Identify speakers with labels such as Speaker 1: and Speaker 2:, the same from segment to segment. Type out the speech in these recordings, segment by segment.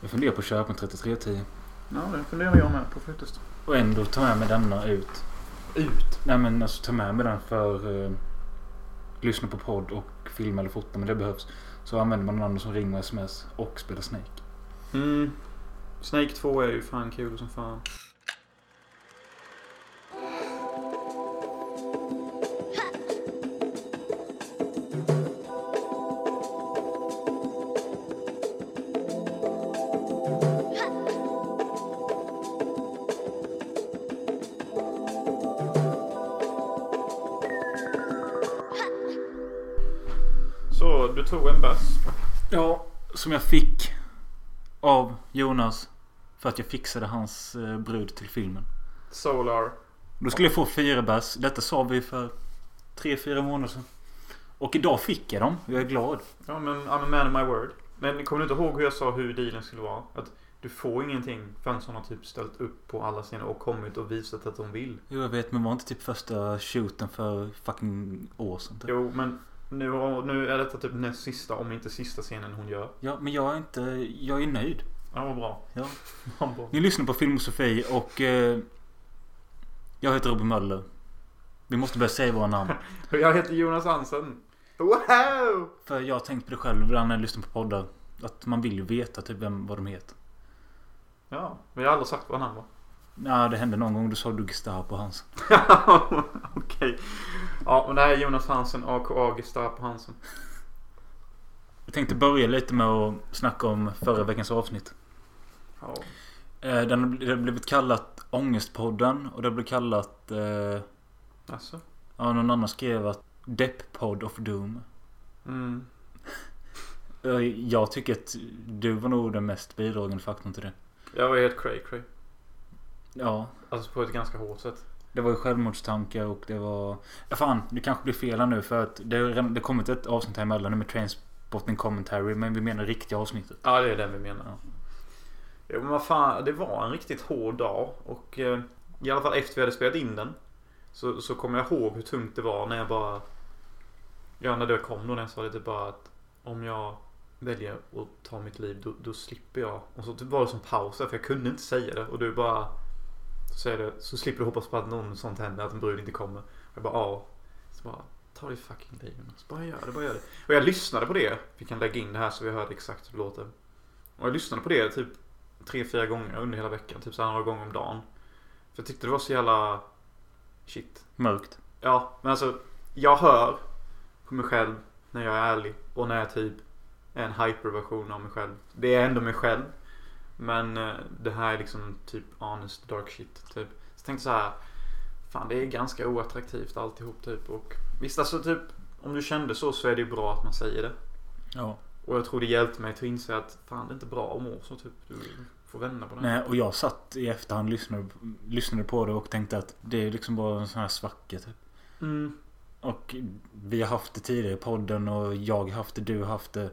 Speaker 1: Jag funderar på att köpa en 3310.
Speaker 2: Ja, det funderar jag med på faktiskt.
Speaker 1: Och ändå ta med mig denna ut.
Speaker 2: Ut?
Speaker 1: Nej men alltså ta med mig den för eh, lyssna på podd och filma eller fota men det behövs. Så använder man någon annan som ringer och sms och spelar Snake.
Speaker 2: Mm. Snake 2 är ju fan kul som fan. Så, du tog en bass.
Speaker 1: Ja, som jag fick av Jonas för att jag fixade hans eh, brud till filmen.
Speaker 2: Solar.
Speaker 1: Då skulle jag få fyra bärs. Detta sa vi för tre, fyra månader sedan. Och idag fick jag dem. Jag är glad.
Speaker 2: Ja, men I'm a man of my word. Men kommer du inte ihåg hur jag sa hur dealen skulle vara? Att du får ingenting förrän hon har typ ställt upp på alla scener och kommit och visat att hon vill.
Speaker 1: Jo, jag vet, men var inte typ första shooten för fucking år sedan? Typ.
Speaker 2: Jo, men nu, har- nu är detta typ näst sista, om inte sista scenen hon gör.
Speaker 1: Ja, men jag är inte... Jag är nöjd.
Speaker 2: Ja, vad bra.
Speaker 1: Ja.
Speaker 2: Vad bra.
Speaker 1: Ni lyssnar på Filmosofi och... Eh, jag heter Robin Möller. Vi måste börja säga våra namn.
Speaker 2: Jag heter Jonas Hansen. Wow!
Speaker 1: För jag har tänkt på det själv ibland när jag lyssnar på poddar. Att man vill ju veta typ vem, vad de heter.
Speaker 2: Ja, vi har aldrig sagt vad han var.
Speaker 1: Ja, det hände någon gång. Då sa du Gestapo Hans.
Speaker 2: Okej. Ja, men det här är Jonas Hansen, aka Gestapo Hansen.
Speaker 1: Jag tänkte börja lite med att snacka om förra veckans avsnitt.
Speaker 2: Ja.
Speaker 1: Eh, Den har bl- det har blivit kallat Ångestpodden och det har blivit kallat... Eh,
Speaker 2: Alltså.
Speaker 1: ja, någon annan skrev att Depp-podd of Doom.
Speaker 2: Mm.
Speaker 1: Eh, Jag tycker att du var nog den mest bidragande faktorn till det.
Speaker 2: Jag var helt cray cray.
Speaker 1: Ja.
Speaker 2: Alltså på ett ganska hårt sätt.
Speaker 1: Det var ju självmordstankar och det var... Ja, fan, det kanske blir fel här nu för att det har redan- det har kommit ett avsnitt här emellan nu med Trainspotting Commentary. Men vi menar riktiga avsnittet.
Speaker 2: Ja, det är den vi menar.
Speaker 1: Ja.
Speaker 2: Jo, men vad fan. Det var en riktigt hård dag. Och eh, i alla fall efter vi hade spelat in den. Så, så kommer jag ihåg hur tungt det var när jag bara... Ja, när det kom då när jag sa det typ bara att om jag väljer att ta mitt liv då, då slipper jag. Och så typ var det som paus där, för jag kunde inte säga det. Och du bara... Så säger du, så slipper du hoppas på att någon sånt händer, att en brud inte kommer. Och jag bara ja. Så bara, ta ditt fucking liv Jonas. Bara gör det, bara gör det. Och jag lyssnade på det. Vi kan lägga in det här så vi hörde exakt hur det låter. Och jag lyssnade på det typ tre, fyra gånger under hela veckan. Typ så här några gånger om dagen. För jag tyckte det var så jävla... Shit.
Speaker 1: Mörkt.
Speaker 2: Ja, men alltså. Jag hör på mig själv när jag är ärlig. Och när jag typ är en hyperversion av mig själv. Det är ändå mig själv. Men eh, det här är liksom typ honest dark shit. Typ. Så jag tänkte så här. Fan, det är ganska oattraktivt alltihop typ. Och visst, alltså typ. Om du kände så så är det ju bra att man säger det.
Speaker 1: Ja.
Speaker 2: Och jag tror det hjälpte mig till att inse att fan det är inte bra att må så typ. Du får vända på det.
Speaker 1: Nej, och jag satt i efterhand och lyssnade, lyssnade på det och tänkte att det är liksom bara en sån här svacka typ.
Speaker 2: Mm.
Speaker 1: Och vi har haft det tidigare i podden och jag har haft det, du har haft det.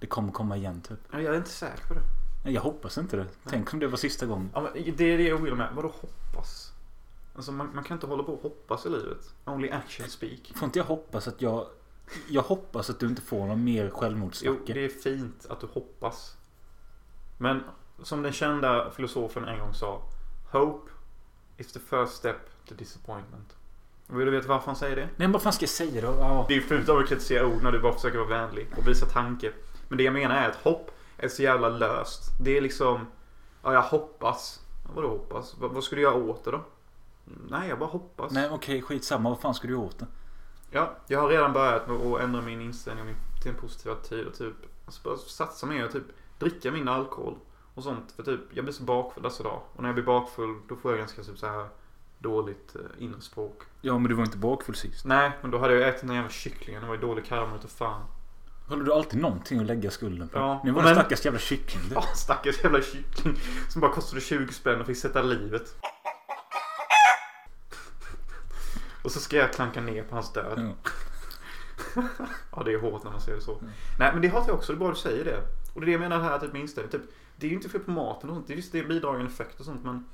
Speaker 1: Det kommer komma igen typ.
Speaker 2: Ja, Jag är inte säker på det.
Speaker 1: Nej, jag hoppas inte det. Tänk om det var sista gången.
Speaker 2: Ja, men det är det jag vill med. Vadå hoppas? Alltså man, man kan inte hålla på och hoppas i livet. Only action speak.
Speaker 1: Får inte jag hoppas att jag... Jag hoppas att du inte får någon mer
Speaker 2: Jo,
Speaker 1: självmordstankar.
Speaker 2: det är fint att du hoppas. Men som den kända filosofen en gång sa. Hope is the first step to disappointment. Vill du veta varför han säger det?
Speaker 1: Nej men vad fan ska jag säga då? Ja.
Speaker 2: Det är fult av att kritisera ord när du bara försöker vara vänlig och visa tanke. Men det jag menar är att hopp är så jävla löst. Det är liksom... Ja, jag hoppas. Ja, Vadå hoppas? Vad, vad skulle jag göra åt det då? Nej, jag bara hoppas.
Speaker 1: Nej okej, skitsamma. Vad fan ska du göra åt det?
Speaker 2: Ja, jag har redan börjat med att ändra min inställning och min- till en positiv attityd och typ... Alltså bara satsa mer och typ dricka mindre alkohol och sånt. För typ, jag blir så bakfull alltså dag. Och när jag blir bakfull då får jag ganska typ så här dåligt eh, inre språk.
Speaker 1: Ja men du var inte bakfull sist.
Speaker 2: Nej, men då hade jag ätit den där jävla kycklingen. Det var ju dålig karma utav fan.
Speaker 1: Håller du alltid någonting att lägga skulden på?
Speaker 2: Ja,
Speaker 1: nu var
Speaker 2: men-
Speaker 1: det stackars jävla kyckling. du.
Speaker 2: Ja, stackars jävla kyckling som bara kostade 20 spänn och fick sätta livet. Och så ska jag klanka ner på hans död.
Speaker 1: Ja.
Speaker 2: Ja, det är hårt när man säger det så.
Speaker 1: Mm.
Speaker 2: Nej, men det hatar jag också. Det är bara du säger det. Och det är det jag menar här, typ med inställning. Typ, det är ju inte fel på maten och sånt. Det är visst det är bidragande effekt och sånt, men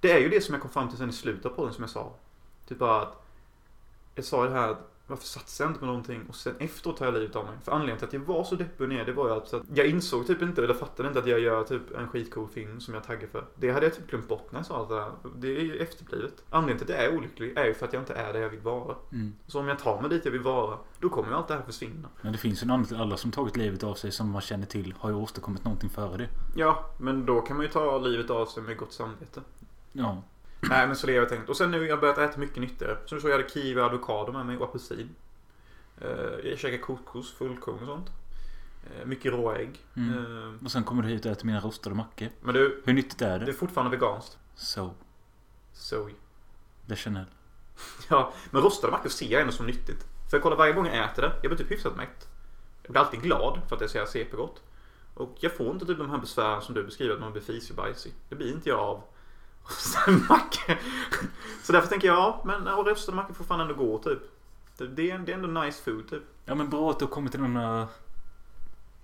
Speaker 2: det är ju det som jag kom fram till sen i slutet på den som jag sa. Typ bara att jag sa ju det här att varför satsar jag inte på någonting? Och sen efteråt tar jag livet av mig. För anledningen till att jag var så deppig och ner, det var ju alltså att jag insåg typ inte, eller fattade inte att jag gör typ en skitcool film som jag taggar för. Det hade jag typ glömt bort när jag sa allt det där. Det är ju efterblivet. Anledningen till att jag är olycklig är ju för att jag inte är där jag vill vara.
Speaker 1: Mm.
Speaker 2: Så om jag tar mig dit jag vill vara, då kommer ju allt det här försvinna.
Speaker 1: Men det finns ju en anledning till alla som tagit livet av sig som man känner till har ju åstadkommit någonting före det.
Speaker 2: Ja, men då kan man ju ta livet av sig med gott samvete.
Speaker 1: Ja.
Speaker 2: Nej, men så det har jag tänkt. Och sen nu har jag börjat äta mycket nyttigare. Som du såg, jag hade kiwi och avokado med mig och apelsin. Eh, jag käkar kokos, fullkorn och sånt. Eh, mycket råägg.
Speaker 1: Mm.
Speaker 2: Eh,
Speaker 1: Och sen kommer du hit och äter mina rostade mackor.
Speaker 2: men du,
Speaker 1: Hur nyttigt är
Speaker 2: det är
Speaker 1: det?
Speaker 2: fortfarande veganskt.
Speaker 1: Så.
Speaker 2: Soy.
Speaker 1: Det är Chanel.
Speaker 2: Ja, men rostade mackor ser jag ändå som nyttigt. För jag kollar varje gång jag äter det, jag blir typ hyfsat mätt. Jag blir alltid glad för att jag ser CP-gott. Och jag får inte typ de här besvären som du beskriver, att man blir fisig och bajsig. Det blir inte jag av rostade mackor. Så därför tänker jag, ja, men ja, rostade mackor får fan ändå gå typ. Det, det, är, det är ändå nice food typ.
Speaker 1: Ja men bra att du har kommit till den här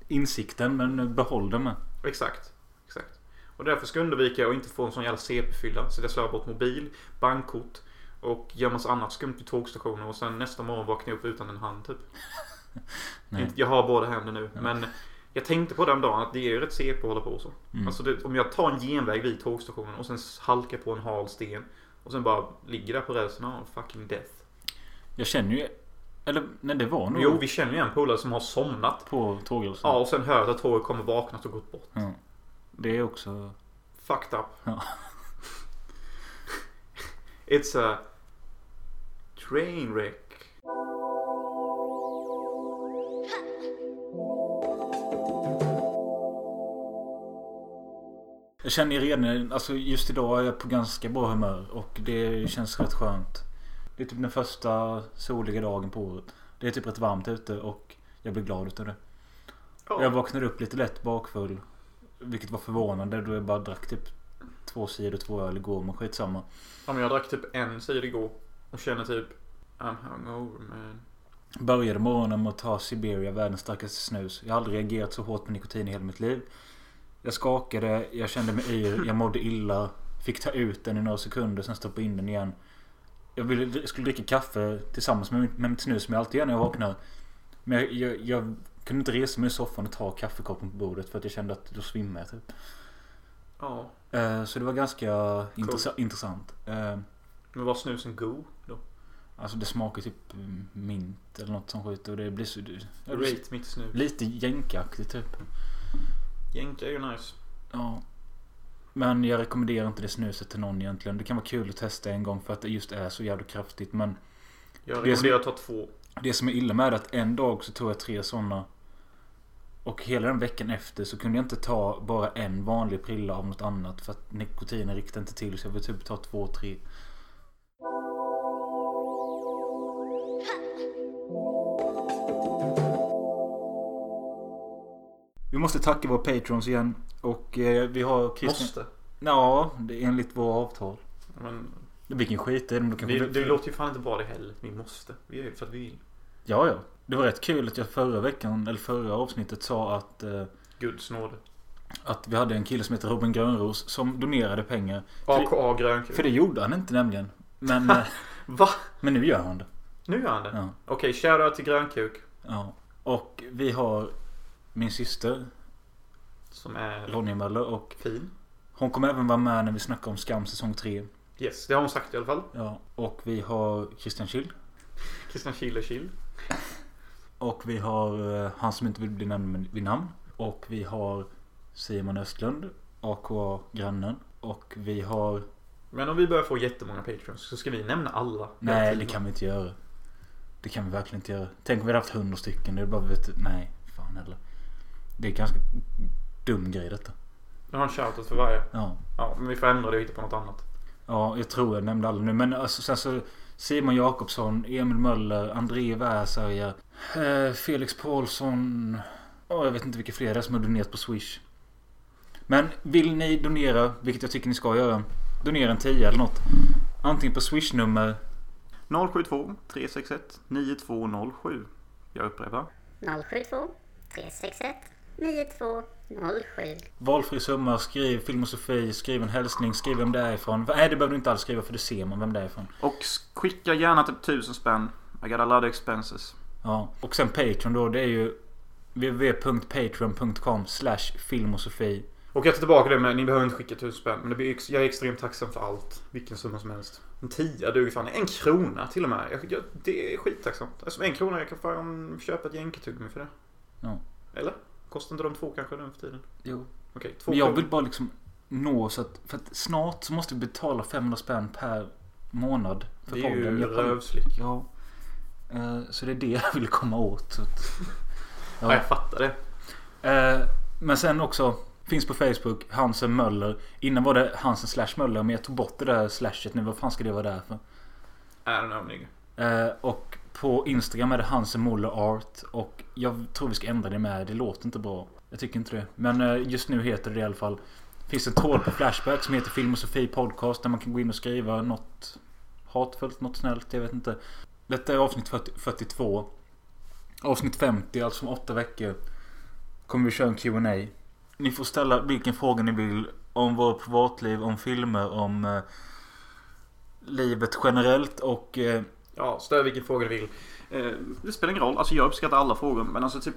Speaker 1: insikten men behåll den med.
Speaker 2: Exakt. Exakt. Och därför ska jag undvika att inte få en sån jävla CP-fylla. Så att jag slöar bort mobil, bankkort och gör massa annat skumt i tågstationer och sen nästa morgon vaknar jag upp utan en hand typ.
Speaker 1: Nej.
Speaker 2: Inte- Jag har båda händer nu. Men jag tänkte på den dagen att det är ju rätt CP att hålla på så.
Speaker 1: Mm.
Speaker 2: Alltså det, om jag tar en genväg vid tågstationen och sen halkar på en hal sten och sen bara ligger där på rälsen och fucking death.
Speaker 1: Jag känner ju... Eller nej det var nog
Speaker 2: Jo, vi känner ju en polare som har somnat.
Speaker 1: på tågrälsen.
Speaker 2: Ja, och sen hör jag att tåget kommer vaknat och gått bort.
Speaker 1: Ja. Det är också...
Speaker 2: Fucked up.
Speaker 1: Ja.
Speaker 2: It's a train wreck.
Speaker 1: Jag känner ju redan, alltså just idag är jag på ganska bra humör och det känns rätt skönt. Det är typ den första soliga dagen på året. Det är typ rätt varmt ute och jag blir glad utav det.
Speaker 2: Ja.
Speaker 1: Jag vaknade upp lite lätt bakfull. Vilket var förvånande då jag bara drack typ två sidor, två öl igår men skitsamma.
Speaker 2: ja, men jag drack typ en cider igår och känner typ I'm hungover man.
Speaker 1: Började morgonen med att ta Siberia, världens starkaste snus. Jag har aldrig reagerat så hårt på nikotin i hela mitt liv. Jag skakade, jag kände mig yr, jag mådde illa. Fick ta ut den i några sekunder, sen stoppa in den igen. Jag ville, skulle dricka kaffe tillsammans med, mitt- med mitt snus som jag alltid gör när jag vaknar. Men jag, jag, jag kunde inte resa mig ur soffan och ta kaffekoppen på bordet för att jag kände att då svimmar jag typ.
Speaker 2: Ja,
Speaker 1: Eh, Så det var ganska intressa- intressant. Eh,
Speaker 2: men var snusen god då?
Speaker 1: Alltså det smakar typ mm, mint eller något som skit och det blir så... det blir
Speaker 2: Rate mitt snus.
Speaker 1: Lite jänkaktigt typ.
Speaker 2: Jänka är ju nice.
Speaker 1: Ja. Men jag rekommenderar inte det snuset till någon egentligen. Det kan vara kul att testa en gång för att det just är så jävla kraftigt. Men
Speaker 2: Jag
Speaker 1: Det är som-
Speaker 2: rekommenderar att ta två.
Speaker 1: det som är illa med det är att en dag så tog jag tre sådana. Och hela den veckan efter så kunde jag inte ta bara en vanlig prilla av något annat. För att nikotinen riktade inte till så jag vill typ ta två, tre. Vi måste tacka våra patrons igen. Och eh, vi har Christian...
Speaker 2: Måste.
Speaker 1: Ja, det är enligt våra avtal.
Speaker 2: Men
Speaker 1: Vilken skit är det? Men då kanske
Speaker 2: vi,
Speaker 1: vi-
Speaker 2: det låter ju fan inte bra det heller. Vi måste. Vi gör det för att vi vill.
Speaker 1: Ja, ja. Det var rätt kul att jag förra veckan, eller förra avsnittet sa att, eh,
Speaker 2: Guds nåde.
Speaker 1: att vi hade en kille som heter Robin Grönros som donerade pengar. För-
Speaker 2: AKA grönkul.
Speaker 1: För det gjorde han inte nämligen. Men, eh,
Speaker 2: Va?
Speaker 1: men nu gör han det.
Speaker 2: Nu gör han det?
Speaker 1: Ja,
Speaker 2: Okej, shoutout till grönkuk.
Speaker 1: ja. Och vi har min syster
Speaker 2: Som är
Speaker 1: Ronja Möller och
Speaker 2: fin.
Speaker 1: hon kommer även vara med när vi snackar om Skam säsong 3.
Speaker 2: Yes, det har hon sagt i alla fall.
Speaker 1: Ja. Och vi har Christian Kyl.
Speaker 2: Christian Kille Kill.
Speaker 1: Och vi har eh, han som inte vill bli nämnd vid namn. Och vi har Simon Östlund, aka Grannen. Och vi har
Speaker 2: Men om vi börjar få jättemånga patreons så ska vi nämna alla.
Speaker 1: Nej, det kan vi inte göra. Det kan vi verkligen inte göra. Tänk om vi hade haft hundra stycken. Det är bara vet du, Nej, fan heller. Det är en ganska dum grej detta.
Speaker 2: Jag har en shoutout för varje.
Speaker 1: Ja.
Speaker 2: Ja, men vi får ändra det och hitta på något annat.
Speaker 1: Ja, jag tror jag nämnde alla nu. Men alltså, sen så Simon Jakobsson, Emil Möller, André Väsarja, eh, Felix Paulsson. Ja, jag vet inte vilka fler det är som har donerat på Swish. Men vill ni donera, vilket jag tycker ni ska göra. Donera en 10 eller något. Antingen på Swish-nummer
Speaker 2: 072 361 9207. Jag upprepar.
Speaker 3: 072 361 9207.
Speaker 1: Valfri summa, skriv filosofi, skriv en hälsning, skriv vem det är ifrån. Nej, det behöver du inte alls skriva för det ser man vem det är ifrån.
Speaker 2: Och skicka gärna typ tusen spänn.
Speaker 4: I got a lot of expenses.
Speaker 1: Ja. Och sen Patreon då. Det är ju www.patreon.com slash filmosofi.
Speaker 2: Och jag tar tillbaka det med ni behöver inte skicka tusen spänn. Men det blir, ex- jag är extremt tacksam för allt. Vilken summa som helst. En tia duger fan. En krona till och med. Jag, jag, det är skittacksamt. Alltså en krona jag kan fan köpa ett jänkartuggummi för det.
Speaker 1: Ja.
Speaker 2: Eller? Kostar inte de två kanske nu för tiden?
Speaker 1: Jo.
Speaker 2: Okej, två
Speaker 1: Men jag
Speaker 2: kronor.
Speaker 1: vill bara liksom nå så att... För att snart så måste vi betala 500 spänn per månad. För
Speaker 2: Det är
Speaker 1: podden.
Speaker 2: ju
Speaker 1: Jag kommer-
Speaker 2: rövslick.
Speaker 1: Ja. Eh, Så det är det jag vill komma åt. Så att,
Speaker 2: Ja. jag fattar det.
Speaker 1: Eh, Men sen också. Finns på Facebook. Hansen Möller. Innan var det Hansen slash Möller. Men jag tog bort det där slashet nu. Vad fan ska det vara där för?
Speaker 2: I don't know nigga.
Speaker 1: Eh, Och på Instagram är det Hansen Moller Art. Och jag tror vi ska ändra det med. Det låter inte bra. Jag tycker inte det. Men eh, just nu heter det det i alla fall. Finns en tråd på Flashback som heter Filmosofi Podcast. Där man kan gå in och skriva något hatfullt, något snällt. Jag vet inte. Detta är avsnitt 40, 42. Avsnitt 50, alltså om åtta veckor. Kommer vi köra en Q&A Ni får ställa vilken fråga ni vill. Om vårt privatliv, om filmer, om eh, livet generellt och eh,
Speaker 2: Ja, ställ vilken fråga du vill.
Speaker 4: Eh, det spelar ingen roll. Alltså jag uppskattar alla frågor. Men alltså typ.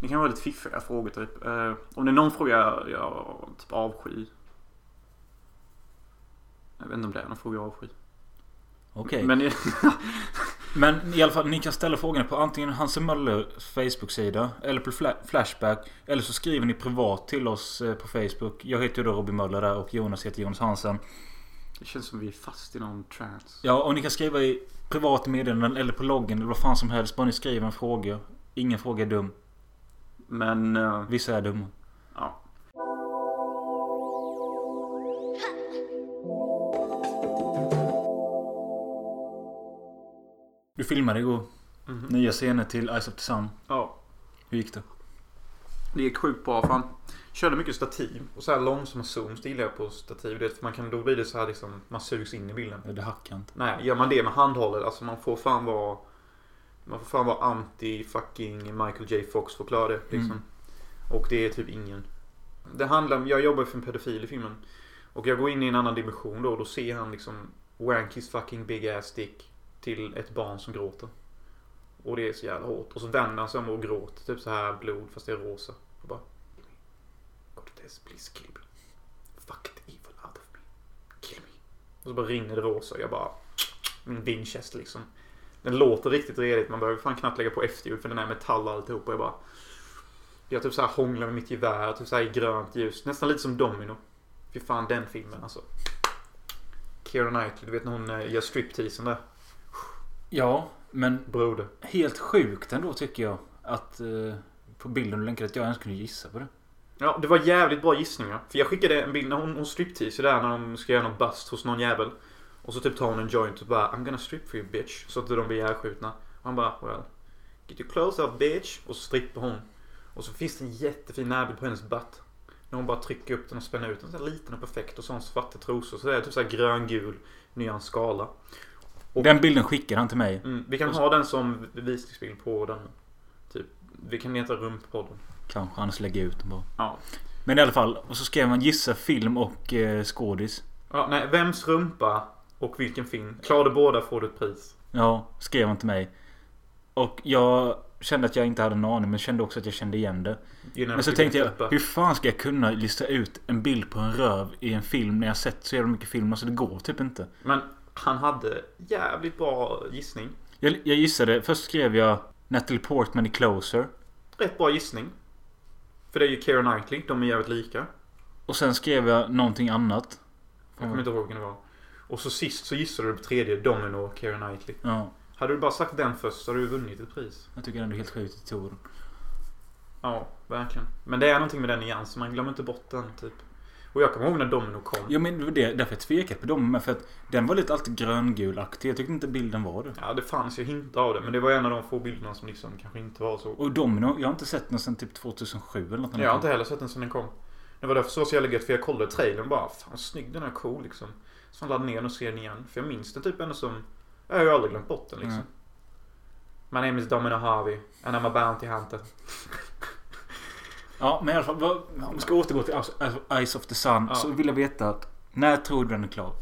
Speaker 4: Det kan vara lite fiffiga frågor typ. Eh, om det är någon fråga jag, jag typ avskyr. Jag vet inte om det är någon fråga jag avskyr.
Speaker 1: Okej. Men,
Speaker 4: Men
Speaker 1: i alla fall, ni kan ställa frågan på antingen Hanse Möllers Facebook-sida eller på Fla- Flashback. Eller så skriver ni privat till oss eh, på Facebook. Jag heter ju då Robin Möller där och Jonas heter Jonas Hansen.
Speaker 4: det känns som vi är fast i någon trance.
Speaker 1: Ja, och ni kan skriva i privat meddelanden eller på loggen eller vad fan som helst. Bara ni skriver en fråga. Ingen fråga är dum.
Speaker 4: Men eh,
Speaker 1: Vissa är dumma.
Speaker 4: ja.
Speaker 1: Du filmade igår. Nya scener till Eyes of the Sun.
Speaker 4: ja.
Speaker 1: Hur gick det?
Speaker 4: Det gick sjukt bra. Fan.
Speaker 2: Körde mycket stativ. Och så här långsamma zooms det gillar jag på stativ. Det, är för man kan, då blir det så här liksom, man sugs in i bilden.
Speaker 1: Ja, Det hackade inte.
Speaker 2: Nej, gör man det med handhållet, alltså man får fan vara... Man får fan vara anti-fucking Michael J Fox för att klara det liksom.
Speaker 1: Mm.
Speaker 2: Och det är typ ingen. Det handlar om, jag jobbar för en pedofil i filmen. Och jag går in i en annan dimension då och då ser han liksom Wankys fucking big ass dick till ett barn som gråter. Och det är så jävla hårt. Och så vänder han sig om och gråter typ så här blod fast det är rosa. Och bara... Cortez, please kill me. Fuck the evil out of me. Kill me. Och så bara rinner det rosa och jag bara... Min Winchester liksom. Den låter riktigt redigt. Man behöver fan knappt lägga på efterljud för den är metall och alltihop. Och jag bara... Jag typ så här hånglar med mitt gevär, typ så här i grönt ljus. Nästan lite som Domino. Fy fan den filmen alltså. Keira Knightley, du vet när hon eh, gör stripteasen där.
Speaker 1: Ja, men
Speaker 2: Broder.
Speaker 1: helt sjukt ändå tycker jag. Att eh, på bilden du länkade att jag ens kunde gissa på det.
Speaker 2: Ja, det var jävligt bra gissningar. För jag skickade en bild när hon, hon stripteaser där när de ska göra någon bust hos någon jävel. Och så typ tar hon en joint och bara I'm gonna strip for you bitch. Så att de blir ihjälskjutna. Och han bara well. Get your clothes up bitch. Och så strippar hon. Och så finns det en jättefin närbild på hennes butt. När hon bara trycker upp den och spänner ut den. Så här liten och perfekt. Och så har hon svarta trosor. Så det är typ så här gröngul nyans skala. Och-
Speaker 1: Den bilden skickade han till mig.
Speaker 2: Mm, vi kan ha den som visningsbild på den. Typ. Vi kan heta Rumppodden.
Speaker 1: Kanske, annars lägger jag ut den bara.
Speaker 4: Ja.
Speaker 1: Men i alla fall, och så skrev man gissa film och eh, skådis.
Speaker 2: Ja, nej, vems rumpa och vilken film? Klarar du båda får du ett pris.
Speaker 1: Ja, skrev han till mig. Och jag kände att jag inte hade en aning men kände också att jag kände igen det.
Speaker 2: You know,
Speaker 1: Men så
Speaker 2: typ
Speaker 1: tänkte
Speaker 2: rumpa.
Speaker 1: jag, hur fan ska jag kunna lista ut en bild på en röv i en film när jag sett så jävla mycket filmer så det går typ inte.
Speaker 2: Men han hade jävligt bra gissning.
Speaker 1: Jag, jag gissade, först skrev jag Natalie Portman i Closer.
Speaker 2: Rätt bra gissning. För det är ju Keira Knightley, de är jävligt lika.
Speaker 1: Och sen skrev jag någonting annat.
Speaker 2: Jag kommer inte ihåg vilken det var. Och så sist så gissade du på tredje, Domino och Keira Knightley.
Speaker 1: Ja,
Speaker 2: Hade du bara sagt den först så hade du vunnit ett pris.
Speaker 1: jag tycker ändå helt sjukt i Tor.
Speaker 2: Ja, verkligen. Men det är någonting med den nyansen, man glömmer inte bort den typ. Och jag kommer ihåg när Domino kom.
Speaker 1: Ja men det var det, därför jag tvekade på dem med. För att den var lite alltid gröngulaktig. Jag tyckte inte bilden var det.
Speaker 2: Ja, det fanns ju hintar av det, men det var en av de få bilderna som liksom kanske inte var så
Speaker 1: Och Domino, jag har inte sett den sedan typ 2007 eller något.
Speaker 2: Jag har inte heller sett den sen den kom. Det var därför så så jävla gött, för jag kollade trailern bara. Fan snygg den är cool liksom. Så jag laddade ner den och ser den igen. För jag minns den typ ändå som... Jag har ju aldrig glömt bort den liksom.
Speaker 1: Mm.
Speaker 2: My name is Domino Harvey and I'm a bounty hunter.
Speaker 1: Ja, men i alla fall. Vad, om vi ska återgå till Eyes of the Sun.
Speaker 2: Ja.
Speaker 1: Så vill jag veta att när tror du den är klar?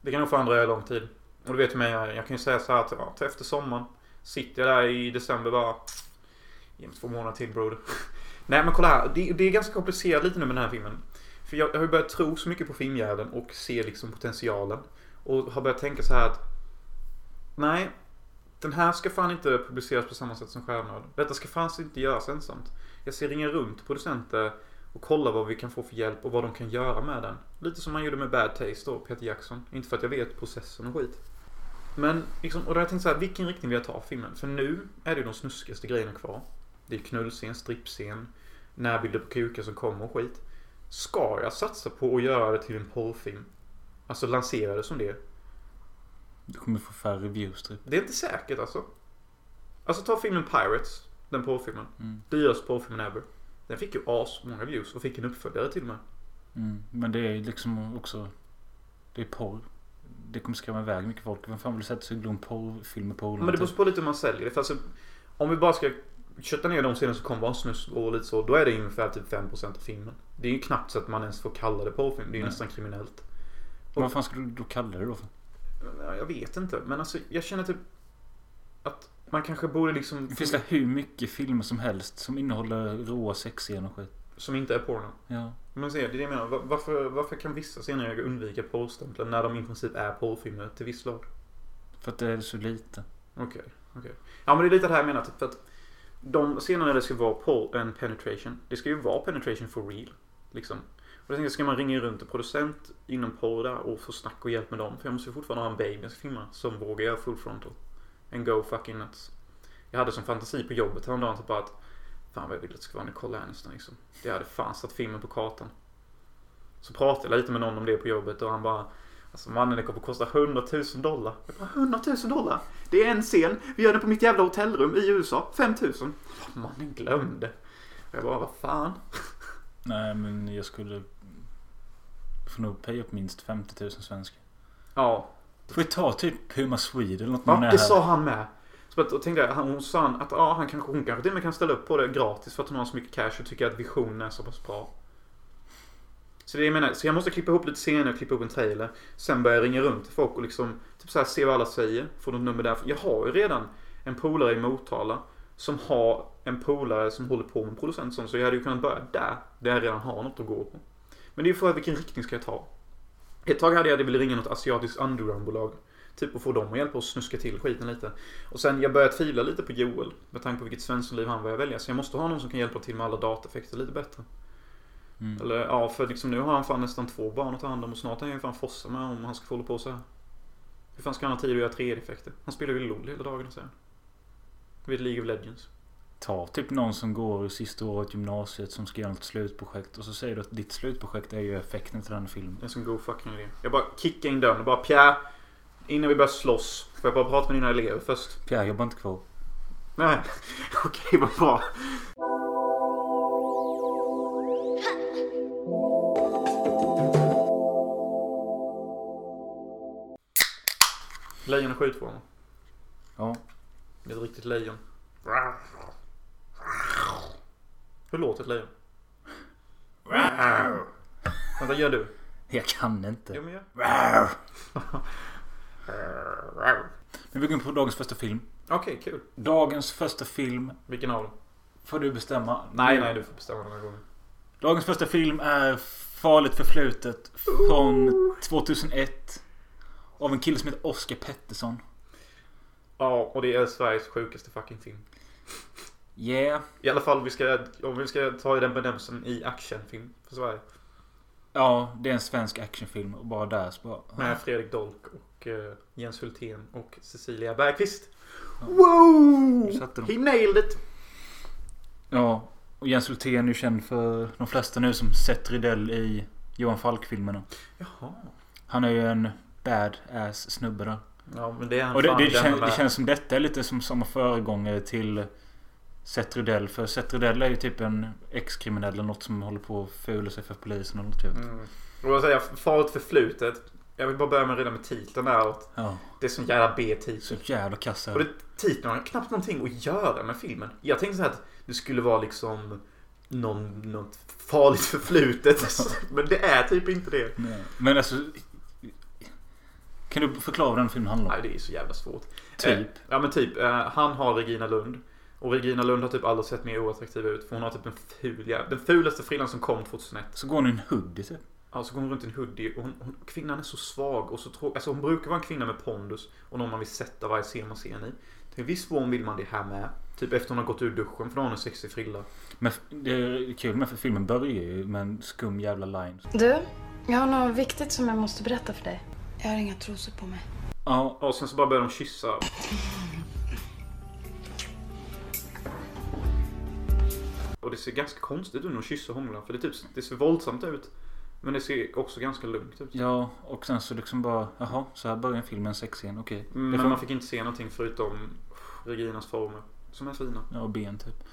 Speaker 2: Det kan nog fan dröja lång tid. Och du vet mig, jag, jag kan ju säga så här att ja, till efter sommaren sitter jag där i december bara... Ge mig två månader till broder. Nej men kolla här, det, det är ganska komplicerat lite nu med den här filmen. För jag, jag har ju börjat tro så mycket på filmjäveln och se liksom potentialen. Och har börjat tänka så här att... Nej, den här ska fan inte publiceras på samma sätt som Stjärnöden. Detta ska fan inte göras ensamt. Jag ska ringa runt producenter och kolla vad vi kan få för hjälp och vad de kan göra med den. Lite som man gjorde med Bad Taste då, Peter Jackson. Inte för att jag vet processen och skit. Men liksom, och då har jag tänkt så här, vilken riktning vill jag ta filmen? För nu är det ju de snuskigaste grejerna kvar. Det är knullscen, strippscen, närbilder på kukar som kommer och skit. Ska jag satsa på att göra det till en porrfilm? Alltså lansera det som det.
Speaker 1: Du kommer få färre views typ.
Speaker 2: Det är inte säkert alltså. Alltså ta filmen Pirates, den porrfilmen.
Speaker 1: Mm.
Speaker 2: Dyraste porrfilmen ever. Den fick ju asmånga views och fick en uppföljare till och med.
Speaker 1: Mm. Men det är liksom också... Det är porr. Det kommer skrämma iväg mycket folk. Vem fan vill sätta sig och glo en porrfilm med polarna?
Speaker 2: Men det beror
Speaker 1: typ?
Speaker 2: på lite hur man säljer det. För alltså, om vi bara ska kötta ner de scener som kom bara snus och lite så. Då är det ungefär typ 5% av filmen. Det är ju knappt så att man ens får kalla det porrfilm. Det är ju
Speaker 1: Nej.
Speaker 2: nästan kriminellt.
Speaker 1: Men Vad fan skulle du då kalla det då för?
Speaker 2: Ja, Jag vet inte. Men alltså jag känner typ att man kanske borde liksom...
Speaker 1: Det finns det hur mycket filmer som helst som innehåller råa sexscener och skit.
Speaker 2: Som inte är porno.
Speaker 1: Ja.
Speaker 2: Men se, det är det jag menar. Va- Varför, varför kan vissa scener undvika porrstämpeln när de i princip är porrfilmer till viss lag?
Speaker 1: För att det är så lite.
Speaker 2: Okej, okej. Ja men det är lite det här jag menar. Typ, för att de scenerna där det ska vara på en penetration. Det ska ju vara penetration for real. Liksom. Och jag tänker, ska man ringa runt en producent inom porr där och få snack och hjälp med dem? För jag måste ju fortfarande ha en baby jag ska filma som vågar göra full frontal. En go fucking nuts. Jag hade som fantasi på jobbet häromdagen typ bara att Fan vad jag vill att det ska vara Nicole Aniston liksom. Det hade fan satt filmen på kartan. Så pratade jag lite med någon om det på jobbet och han bara Alltså mannen det kommer kosta 100 000 dollar. Jag bara 100 000 dollar? Det är en scen. Vi gör den på mitt jävla hotellrum i USA. 5 000. Vad Mannen glömde. Och jag bara vad fan.
Speaker 1: Nej men jag skulle... Får nog pay upp minst 50 000 svenskar.
Speaker 2: Ja.
Speaker 1: Får vi ta typ Puma Swede eller något när
Speaker 2: Va?
Speaker 1: man är
Speaker 2: Det
Speaker 1: här?
Speaker 2: sa han med. Så att, och tänkte jag, han, hon sa han att ja, han kanske, hon kanske till och med kan ställa upp på det gratis för att hon har så mycket cash och tycker att visionen är så pass bra. Så det jag menar, så jag måste klippa ihop lite scener och klippa ihop en trailer. Sen börjar jag ringa runt till folk och liksom typ så här, se vad alla säger. Få något nummer där. Jag har ju redan en polare i Motala som har en polare som håller på med en producent som så jag hade ju kunnat börja där. Där jag redan har något att gå på. Men det är ju frågan vilken riktning ska jag ta? Ett tag hade jag velat ringa något asiatiskt undergroundbolag. Typ och få dem att hjälpa oss snuska till skiten lite. Och sen jag börjat tvivla lite på Joel. Med tanke på vilket svenssonliv han börjar välja. Så jag måste ha någon som kan hjälpa till med alla dataeffekter lite bättre.
Speaker 1: Mm.
Speaker 2: Eller ja, för liksom nu har han fan nästan två barn att ta hand om. Och snart är han ju fan fossa med om han ska få hålla på så här. Hur fan ska han ha tid att göra 3D-effekter? Han spelar ju LOL hela dagarna säger han. Vid League of Legends.
Speaker 1: Ta typ någon som går i sista året gymnasiet som ska göra något slutprojekt och så säger du att ditt slutprojekt är ju effekten till den filmen.
Speaker 2: Det är en sån god fucking idé. Jag bara kickar in dörren och bara Pierre. Innan vi börjar slåss. Får jag bara prata med dina elever först?
Speaker 1: Pierre jobbar inte kvar.
Speaker 2: Nej. Okej, vad bra. Lejon och skjutvågen.
Speaker 1: Ja.
Speaker 2: Det är ett riktigt lejon. Hur låter ett lejon? Vänta, gör du.
Speaker 1: Jag kan inte.
Speaker 2: Jo, men gör.
Speaker 1: Men vi går in på dagens första film.
Speaker 2: Okej, kul.
Speaker 1: Dagens första film
Speaker 2: Vilken av dem?
Speaker 1: får du bestämma.
Speaker 2: Nej, nej, du får bestämma den här gången.
Speaker 1: Dagens första film är Farligt förflutet från 2001. Av en kille som heter Oscar Pettersson.
Speaker 2: Ja, och det är Sveriges sjukaste fucking film.
Speaker 1: Yeah.
Speaker 2: I alla fall vi ska, om vi ska ta den benämnelsen i actionfilm för Sverige.
Speaker 1: Ja, det är en svensk actionfilm och bara där så bara...
Speaker 2: Med Fredrik Dolk och eh, Jens Hultén och Cecilia Bergqvist.
Speaker 1: Ja.
Speaker 2: Wow!
Speaker 1: Nu satte de.
Speaker 2: He nailed it!
Speaker 1: Ja. Och Jens Hultén är ju känd för de flesta nu som Seth Rydell i Johan Falk-filmerna.
Speaker 2: Jaha.
Speaker 1: Han är ju en bad ass snubbe där.
Speaker 2: Ja men det är han
Speaker 1: Och det,
Speaker 2: fan
Speaker 1: det,
Speaker 2: den
Speaker 1: kän,
Speaker 2: med.
Speaker 1: det känns som detta är lite som samma föregångare till Seth Rydell. För Seth Rydell är ju typ en ex-kriminell eller något som håller på att fula sig för polisen eller något typ.
Speaker 2: Mm. Och jag säger, farligt förflutet. Jag vill bara börja med redan med titeln där. och
Speaker 1: Ja.
Speaker 2: Det är sån jävla B-titel.
Speaker 1: Så jävla kass är
Speaker 2: Och
Speaker 1: det.
Speaker 2: det, titeln har knappt någonting att göra med filmen. Jag tänkte så här att det skulle vara liksom någon, något farligt förflutet. men det är typ inte det.
Speaker 1: Nej. Men alltså... Kan du förklara vad den filmen handlar om?
Speaker 2: Nej, det är så jävla svårt.
Speaker 1: Typ.
Speaker 2: Eh, ja men typ. Eh, han har Regina Lund. Och Regina Lund har typ aldrig sett mer oattraktiv ut. För hon har typ en ful jävla- Den fulaste frillan som kom 2001.
Speaker 1: Så går hon i en hoodie typ.
Speaker 2: Alltså går hon runt i en hoodie. Och hon, hon, kvinnan är så svag och så tråkig. Alltså hon brukar vara en kvinna med pondus. Och någon man vill sätta varje scen man ser henne i. Till viss form vill man det här med. Typ efter hon har gått ur duschen för då har hon en sexig frilla.
Speaker 1: Men f- det är kul med för filmen börjar ju med en skum jävla line.
Speaker 5: Du, jag har något viktigt som jag måste berätta för dig. Jag har inga trosor på mig.
Speaker 1: Ja,
Speaker 2: Och sen så bara börjar de kyssa. Och det ser ganska konstigt ut när de kysser hånglar. För det, typ, det ser våldsamt ut. Men det ser också ganska lugnt ut.
Speaker 1: ja, och sen så liksom bara, jaha, så här börjar filmen sexscen, okej. Det
Speaker 2: Mm, Men
Speaker 1: får-
Speaker 2: man fick inte se någonting förutom Reginas former. Som är fina.
Speaker 1: Ja, och ben typ.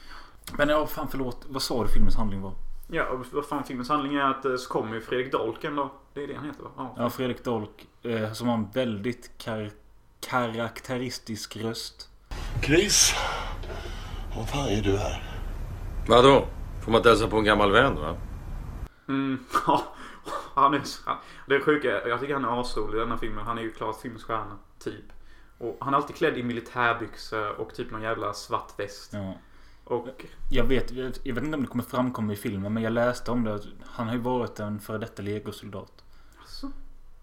Speaker 1: Men ja, fan förlåt. Vad sa du filmens handling var?
Speaker 2: Ja, och vad fan filmens handling är att eh, så kommer ju Fredrik Dolk en dag. Det är det han heter va? Ja.
Speaker 1: Ja, Fredrik Dolk eh, som har en väldigt kar- karaktäristisk röst.
Speaker 6: Chris, vad fan är du här?
Speaker 7: Vadå? Får man inte hälsa på en gammal vän va?
Speaker 2: Mm, ja. Han är, så- han, det är sjuka, jag tycker han är asrolig i den här filmen. Han är ju klart filmens stjärna. Typ. Och han är alltid klädd i militärbyxor och typ någon jävla svart väst.
Speaker 1: Ja.
Speaker 4: Eh,
Speaker 2: Och
Speaker 1: Jag vet, jag vet inte om det kommer framkomma i filmen men jag läste om det. att Han har ju varit en före detta legosoldat.
Speaker 2: alltså,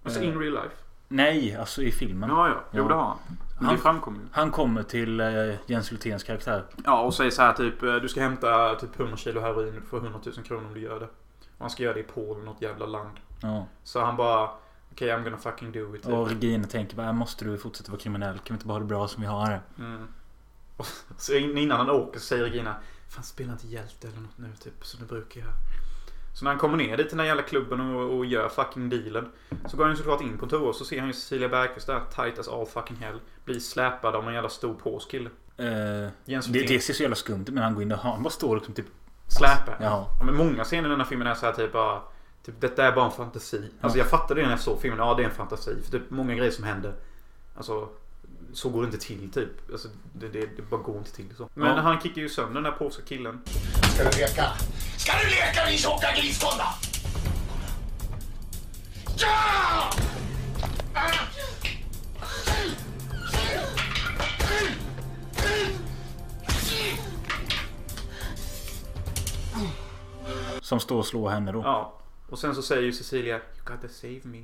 Speaker 2: alltså
Speaker 1: Eh.
Speaker 2: in real life.
Speaker 1: Nej, alltså i filmen.
Speaker 4: Ja, ja. Jo,
Speaker 1: Ja.
Speaker 4: det har han. Men
Speaker 1: Han-
Speaker 4: det framkommer ju.
Speaker 1: Han kommer till eh, Jens Hulténs karaktär.
Speaker 4: Ja, och säger så här typ... eh,
Speaker 2: Eh, Du ska hämta typ 100 kilo heroin och du får 100 000 kronor om du gör det. Och han ska göra det i Polen, något jävla land.
Speaker 1: Ja.
Speaker 2: Så han bara Okej, I'm gonna fucking do it.
Speaker 1: Och Regina tänker bara, "Äh, måste du fortsätta vara kriminell? Kan vi inte bara ha det bra som vi har det?
Speaker 2: Mm. Och så in- innan han åker så säger Regina Fan spela inte hjälte eller något nu typ som du brukar göra. Så när han kommer ner dit till den här jävla klubben och, och gör fucking dealen. Så går han ju såklart in på en toa och så ser han ju Cecilia Bergqvist där tight as all fucking hell. Blir släpad av en jävla stor påskille.
Speaker 1: Eh,
Speaker 2: Jens
Speaker 1: det,
Speaker 2: Hultén.
Speaker 1: det ser så jävla skumt ut men han går in och han bara står liksom typ...
Speaker 2: Släpar.
Speaker 1: Ja.
Speaker 2: Ja, men många scener i den här filmen är så här typ bara Typ detta är bara en fantasi. Alltså
Speaker 1: Ja.
Speaker 2: jag fattade det när jag såg filmen. Ja det är en fantasi. För typ många grejer som händer. Alltså så går det inte till typ. Alltså det, det, det bara går inte till så. Men
Speaker 1: Ja.
Speaker 2: han kickar ju sönder den där polska killen.
Speaker 6: Ska du leka? Ska du leka din tjocka gristunna? Ja!
Speaker 1: Som står och slår henne då.
Speaker 2: Ja. Och sen så säger ju Cecilia You gotta save me.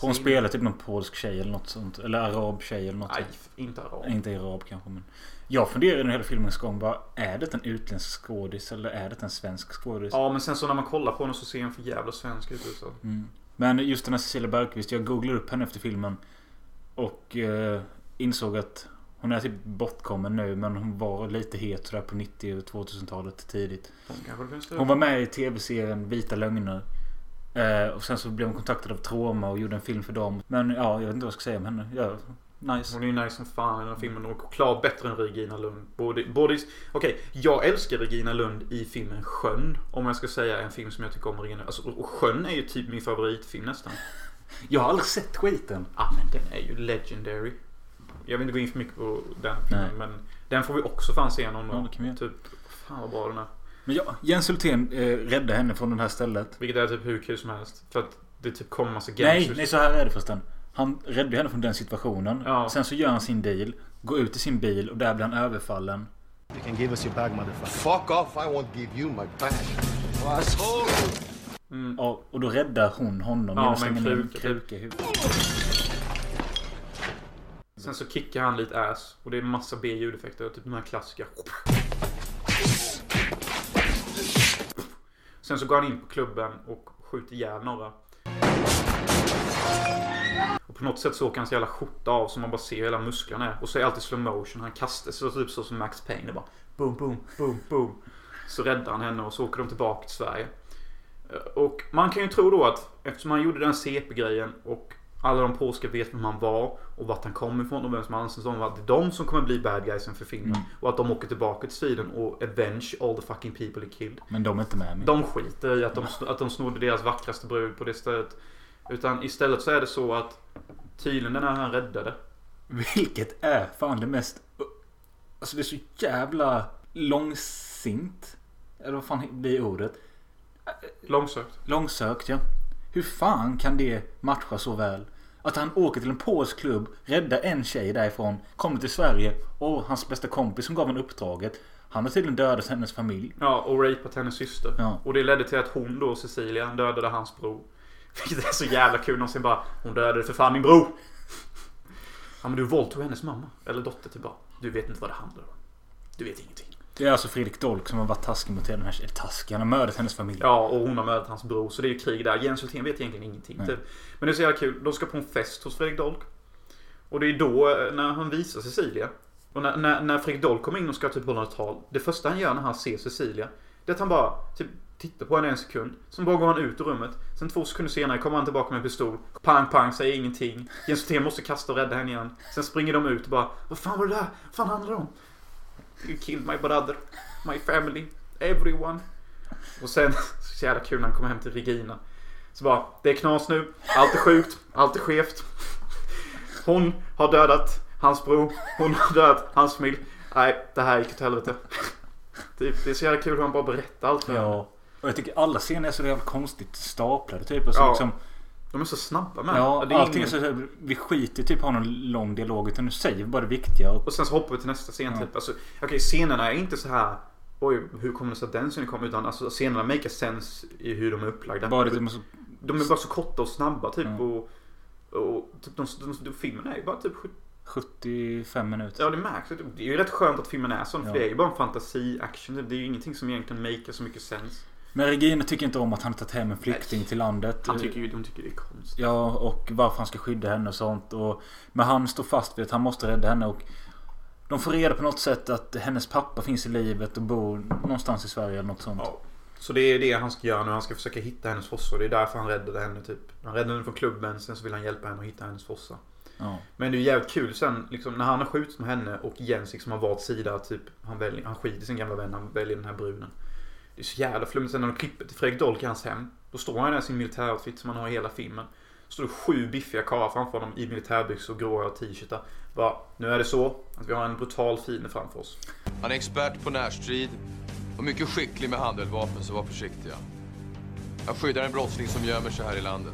Speaker 1: Hon
Speaker 2: Save
Speaker 1: spelar typ någon polsk tjej eller något sånt. Eller arab tjej eller något
Speaker 2: me. Nej,
Speaker 1: sånt.
Speaker 2: inte arab.
Speaker 1: Inte arab kanske men. Jag funderar under hela filmens gång bara. Är det en utländsk skådis eller är det en svensk skådis?
Speaker 2: Ja men sen så när man kollar på henne så ser hon för jävla svensk ut. Så.
Speaker 1: Men just den här Cecilia Bergqvist. Jag googlade upp henne efter filmen. Och eh, insåg att hon är typ bortkommen nu men hon var lite het sådär på 90 och 2000-talet tidigt.
Speaker 2: Hon kanske det finns det.
Speaker 1: Hon var med i tv-serien Vita Lögner. Eh, och sen så blev hon kontaktad av Troma och gjorde en film för dem. Men ja, jag vet inte vad jag ska säga om henne. Ja, nice.
Speaker 2: Hon är ju nice som fan i den här filmen och klar bättre än Regina Lund. Både, både, i- Okej, jag älskar Regina Lund i filmen Sjön. Om jag ska säga en film som jag tycker om Regina alltså, och Sjön är ju typ min favoritfilm nästan.
Speaker 1: Jag har aldrig sett skiten.
Speaker 2: Ja, men den är ju legendary. Jag vill inte gå in för mycket på den filmen, men den får vi också fan se någon
Speaker 1: Ja,
Speaker 2: gång.
Speaker 1: det kan vi göra.
Speaker 2: typ, fan vad bra den är.
Speaker 1: Men ja, Jens Hultén eh, räddade henne från det här stället.
Speaker 2: Vilket är typ hur kul som helst. För att det typ kommer massa
Speaker 1: Nej,
Speaker 2: gangsters.
Speaker 1: nej, så här är det förresten. Han räddade henne från den situationen.
Speaker 2: Ja.
Speaker 1: Sen så gör han sin deal. Går ut i sin bil och där blir han överfallen.
Speaker 8: You can give us your bag, motherfucker.
Speaker 6: Fuck off, I won't give you my back.
Speaker 1: Ja, och då räddar hon honom
Speaker 2: Mm. Ja,
Speaker 1: genom att
Speaker 2: med en
Speaker 1: slänga ner en
Speaker 2: kruka typ.
Speaker 1: kruka i huvudet.
Speaker 2: Mm. Sen så kickar han lite ass och det är massa B-ljudeffekter. Typ de här klassiska. Sen så går han in på klubben och skjuter ihjäl några. Och på något sätt så åker hans jävla skjorta av så man bara ser hur hela musklerna är. Och så är det alltid slow motion. Han kastar sig typ så som Max Payne. Det bara boom, boom, boom, boom. Så räddar han henne och så åker de tillbaka till Sverige. Och man kan ju tro då att eftersom han gjorde den CP-grejen och alla de polska vet vem han var och vart han kom ifrån och vem som anses som att det är de som kommer bli bad guysen för Finland. Och att de åker tillbaka till Sweden och avenge all the fucking people he killed.
Speaker 1: Men de är inte med mig.
Speaker 2: De skiter i att de, att de snodde deras vackraste brud på det stället. Utan istället så är det så att tydligen den här han räddade.
Speaker 1: Vilket är fan det mest... Alltså det är så jävla långsint. Eller vad fan blir ordet?
Speaker 2: Långsökt.
Speaker 1: Långsökt ja. Hur fan kan det matcha så väl? Att han åker till en polsk klubb, räddar en tjej därifrån, kommer till Sverige och hans bästa kompis som gav honom uppdraget. Han har tydligen dödat hennes familj.
Speaker 2: Ja, och rapat hennes syster.
Speaker 1: Ja.
Speaker 2: Och det ledde till att hon då, Cecilia, dödade hans bror. Vilket är så jävla kul någonsin bara Hon dödade för fan min bror! Ja men du våldtog hennes mamma. Eller dotter till barn. Du vet inte vad det handlar om. Du vet ingenting.
Speaker 1: Det är alltså Fredrik Dolk som har varit taskig mot den här tjejen. Taskig? Han har mördat hennes familj.
Speaker 2: Ja, och hon har mördat hans bror. Så det är ju krig där. Jens Hultén vet egentligen ingenting.
Speaker 1: Nej.
Speaker 2: Typ. Men det är så jävla kul. De ska på en fest hos Fredrik Dolk. Och det är då eh, när han visar Cecilia. Och när, när, när Fredrik Dolk kommer in och ska typ hålla ett tal. Det första han gör när han ser Cecilia. Det är att han bara typ, tittar på henne en sekund. Sen bara går han ut ur rummet. Sen två sekunder senare kommer han tillbaka med en pistol. Pang, pang, säger ingenting. Jens Hultén måste kasta och rädda henne igen. Sen springer de ut och bara Vad fan var det där? Vad fan handlar det om? You killed my brother. My family. Everyone. Och sen, så jävla kul när han kommer hem till Regina. Så bara, det är knas nu. Allt är sjukt. Allt är skevt. Hon har dödat hans bror. Hon har dödat hans familj. Nej, det här gick åt helvete. Typ, det är så jävla kul hur han bara berättar allt för henne.
Speaker 1: Ja. Och jag tycker alla scener är så jävla konstigt staplade typ. Alltså,
Speaker 2: Ja.
Speaker 1: liksom,
Speaker 2: De är så snabba med.
Speaker 1: ja,
Speaker 2: det är
Speaker 1: allting är
Speaker 2: ingen-
Speaker 1: så, så här, Vi skiter i typ ha någon lång dialog utan nu säger vi bara det viktiga. Och,
Speaker 2: Och sen så hoppar vi till nästa scen
Speaker 1: Ja.
Speaker 2: typ. Alltså, Okej, scenerna är inte så här. Oj, hur kommer det sig att den scenen kom? Utan alltså, scenerna make a sense i hur de är upplagda.
Speaker 1: bara det, så,
Speaker 2: De är bara så korta och snabba typ.
Speaker 1: Mm.
Speaker 2: Och, och typ, de, de, de, filmen är ju bara typ 70
Speaker 1: 75 minuter.
Speaker 2: Ja, det märks. Det är ju rätt skönt att filmen är sån.
Speaker 1: Ja.
Speaker 2: För det är ju bara en fantasi-action. Det är ju ingenting som egentligen maker så mycket sens.
Speaker 1: Men Regina tycker inte om att han har tagit hem en flykting till landet.
Speaker 2: Han tycker ju, de tycker det är konstigt.
Speaker 1: Ja, och varför han ska skydda henne och sånt. Och, men han står fast vid att han måste rädda henne. Och de får reda på något sätt att hennes pappa finns i livet och bor någonstans i Sverige eller något sånt.
Speaker 2: Ja. Så det är det han ska göra nu. Han ska försöka hitta hennes fossa. och Det är därför han räddade henne typ. Han räddade henne från klubben. Sen så vill han hjälpa henne att hitta hennes fossa.
Speaker 1: Ja.
Speaker 2: Men det är ju jävligt kul sen liksom, när han har skjutit med henne och Jens liksom har valt sida. Typ, han, väljer, han skiter i sin gamla vän, han väljer den här bruden. Det är så jävla flummigt. Sen när de klipper till Fredrik Dolk i hans hem. Då står han där i sin militäroutfit som han har i hela filmen. Står det sju biffiga karlar framför honom i militärbyxor, gråa t-shirtar. Bara, nu är det så att vi har en brutal fiende framför oss.
Speaker 9: Han är expert på närstrid och mycket skicklig med handeldvapen, så var försiktiga. Jag skyddar en brottsling som gömmer sig här i landet.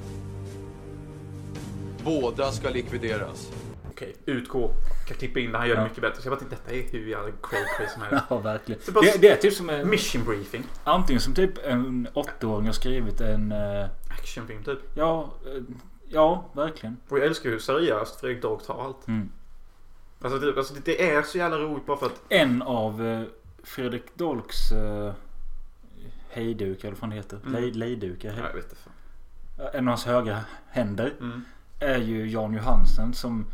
Speaker 9: Båda ska likvideras.
Speaker 2: Okej, utgå. Kan klippa in det, han gör det mycket bättre. Så jag bara tänkte, detta är hur jävla cray cray som helst.
Speaker 1: Ja, verkligen.
Speaker 2: bara-
Speaker 1: Det, det är typ som en,
Speaker 2: Mission briefing.
Speaker 1: antingen som typ en åttaåring har skrivit en... eh,
Speaker 2: Actionfilm typ.
Speaker 1: Ja, eh, ja, verkligen.
Speaker 2: Och jag älskar hur seriöst Fredrik Dolk tar allt.
Speaker 1: Mm.
Speaker 2: Alltså, det, alltså det- det är så jävla roligt bara för att
Speaker 1: En av eh, Fredrik Dolks eh, hejdukar, eller vad fan det heter.
Speaker 2: Mm.
Speaker 1: Lej, lejdukar.
Speaker 2: Ja,
Speaker 1: Hej,
Speaker 2: jag vet inte. fan.
Speaker 1: en av hans högra händer.
Speaker 2: Mm.
Speaker 1: är ju Jan Johansen som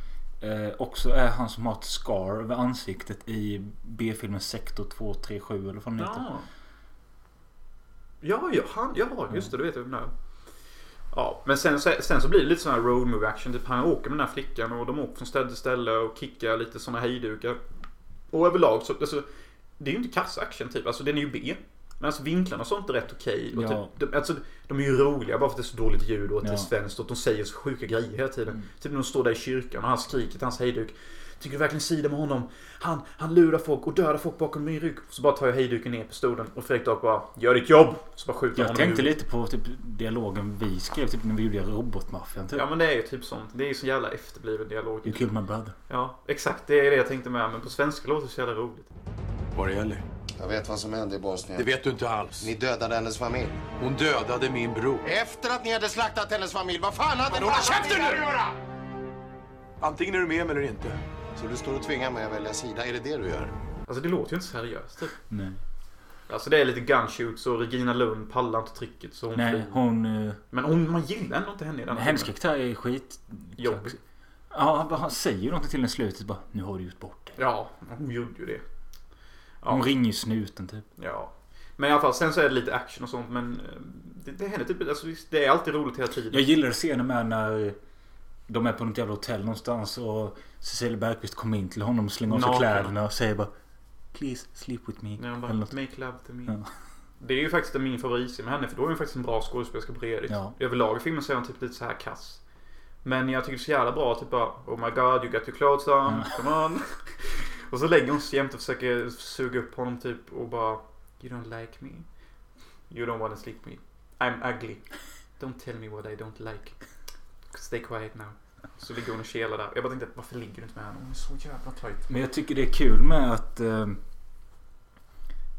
Speaker 1: eh, också är han som har ett scar över ansiktet i B-filmen Sektor 237 eller vad den heter.
Speaker 2: Ja. Ja, ja, han, ja, just det. Du vet jag vem det är. Ja, men sen, så- sen så blir det lite sån här road movie action. Typ han åker med den här flickan och de åker från ställe till ställe och kickar lite såna hejdukar. Och överlag så, alltså, det är ju inte kass-action typ. Alltså den är ju B. Men alltså vinklarna och sånt är rätt okej. Och
Speaker 1: Ja.
Speaker 2: Typ, de, alltså, de är ju roliga bara för att det är så dåligt ljud och att det är
Speaker 1: Ja. Mm.
Speaker 2: svenskt och att de säger så sjuka grejer hela tiden. Typ när de står där i kyrkan och han skriker till hans hejduk. Tycker du verkligen sida med honom? Han, han lurar folk och dödar folk bakom min rygg. Så bara tar jag hejduken ner pistolen och Fredrik Dahl bara Gör ditt jobb! Så bara skjuter
Speaker 1: Jag
Speaker 2: honom i
Speaker 1: tänkte
Speaker 2: huvudet.
Speaker 1: lite på typ, dialogen vi skrev typ, när vi gjorde Robotmaffian. Typ.
Speaker 2: Ja men det är ju typ sånt. Det är ju så jävla efterbliven dialog.
Speaker 1: You killed my brother.
Speaker 2: Ja, exakt. Det är det jag tänkte med. Men på svenska låter det så jävla roligt.
Speaker 9: Var det gäller?
Speaker 6: Jag vet vad som hände i
Speaker 9: Det
Speaker 6: Bosnien.
Speaker 9: vet du inte alls.
Speaker 6: Ni dödade hennes familj.
Speaker 9: Hon dödade min bror.
Speaker 6: Efter att ni hade slaktat hennes familj, vad fan hade ni...
Speaker 9: Håll käften nu! Antingen är du med mig eller inte.
Speaker 6: Så du står och tvingar mig att välja sida, är det det du gör?
Speaker 2: Alltså det låter ju inte seriöst typ.
Speaker 1: Nej,
Speaker 2: Alltså det är lite gunshoots och Regina Lund pallar inte trycket så hon
Speaker 1: Nej
Speaker 2: flyr.
Speaker 1: hon... eh,
Speaker 2: Men hon, man gillar ändå inte henne i den här
Speaker 1: hennes
Speaker 2: filmen.
Speaker 1: karaktär är skit...
Speaker 2: Jobbig.
Speaker 1: Ja, han bara- han säger ju någonting till henne i slutet bara Nu har du gjort bort dig.
Speaker 2: Ja, hon gjorde ju det. Ja.
Speaker 1: Hon ringer ju snuten typ.
Speaker 2: Ja. Men i alla fall, sen så är det lite action och sånt men eh, det, det händer typ, alltså visst, det är alltid roligt hela tiden.
Speaker 1: Jag gillade scenen med när de är på något jävla hotell någonstans och Cecilia Bergqvist kommer in till honom och slänger av sig
Speaker 2: Naken.
Speaker 1: kläderna och säger bara Please sleep with me.
Speaker 2: När hon bara,
Speaker 1: Eller något.
Speaker 2: make love to me.
Speaker 1: Ja.
Speaker 2: Det är ju faktiskt min favoritscen med henne för då är hon faktiskt en bra skådespelerska på redigt.
Speaker 1: Ja.
Speaker 2: Överlag i filmen så är hon typ lite så här kass. Men jag tycker det är så jävla bra, typ bara Oh my god you got your clothes on, come on. och så lägger hon sig jämt och försöker suga upp honom typ och bara You don't like me. You don't wanna sleep me. I'm ugly. Don't tell me what I don't like. Stay quiet now. Så ligger hon och kelar där. Jag bara tänkte, varför ligger du inte med henne? Hon är så jävla tight.
Speaker 1: Men jag tycker det är kul med att eh,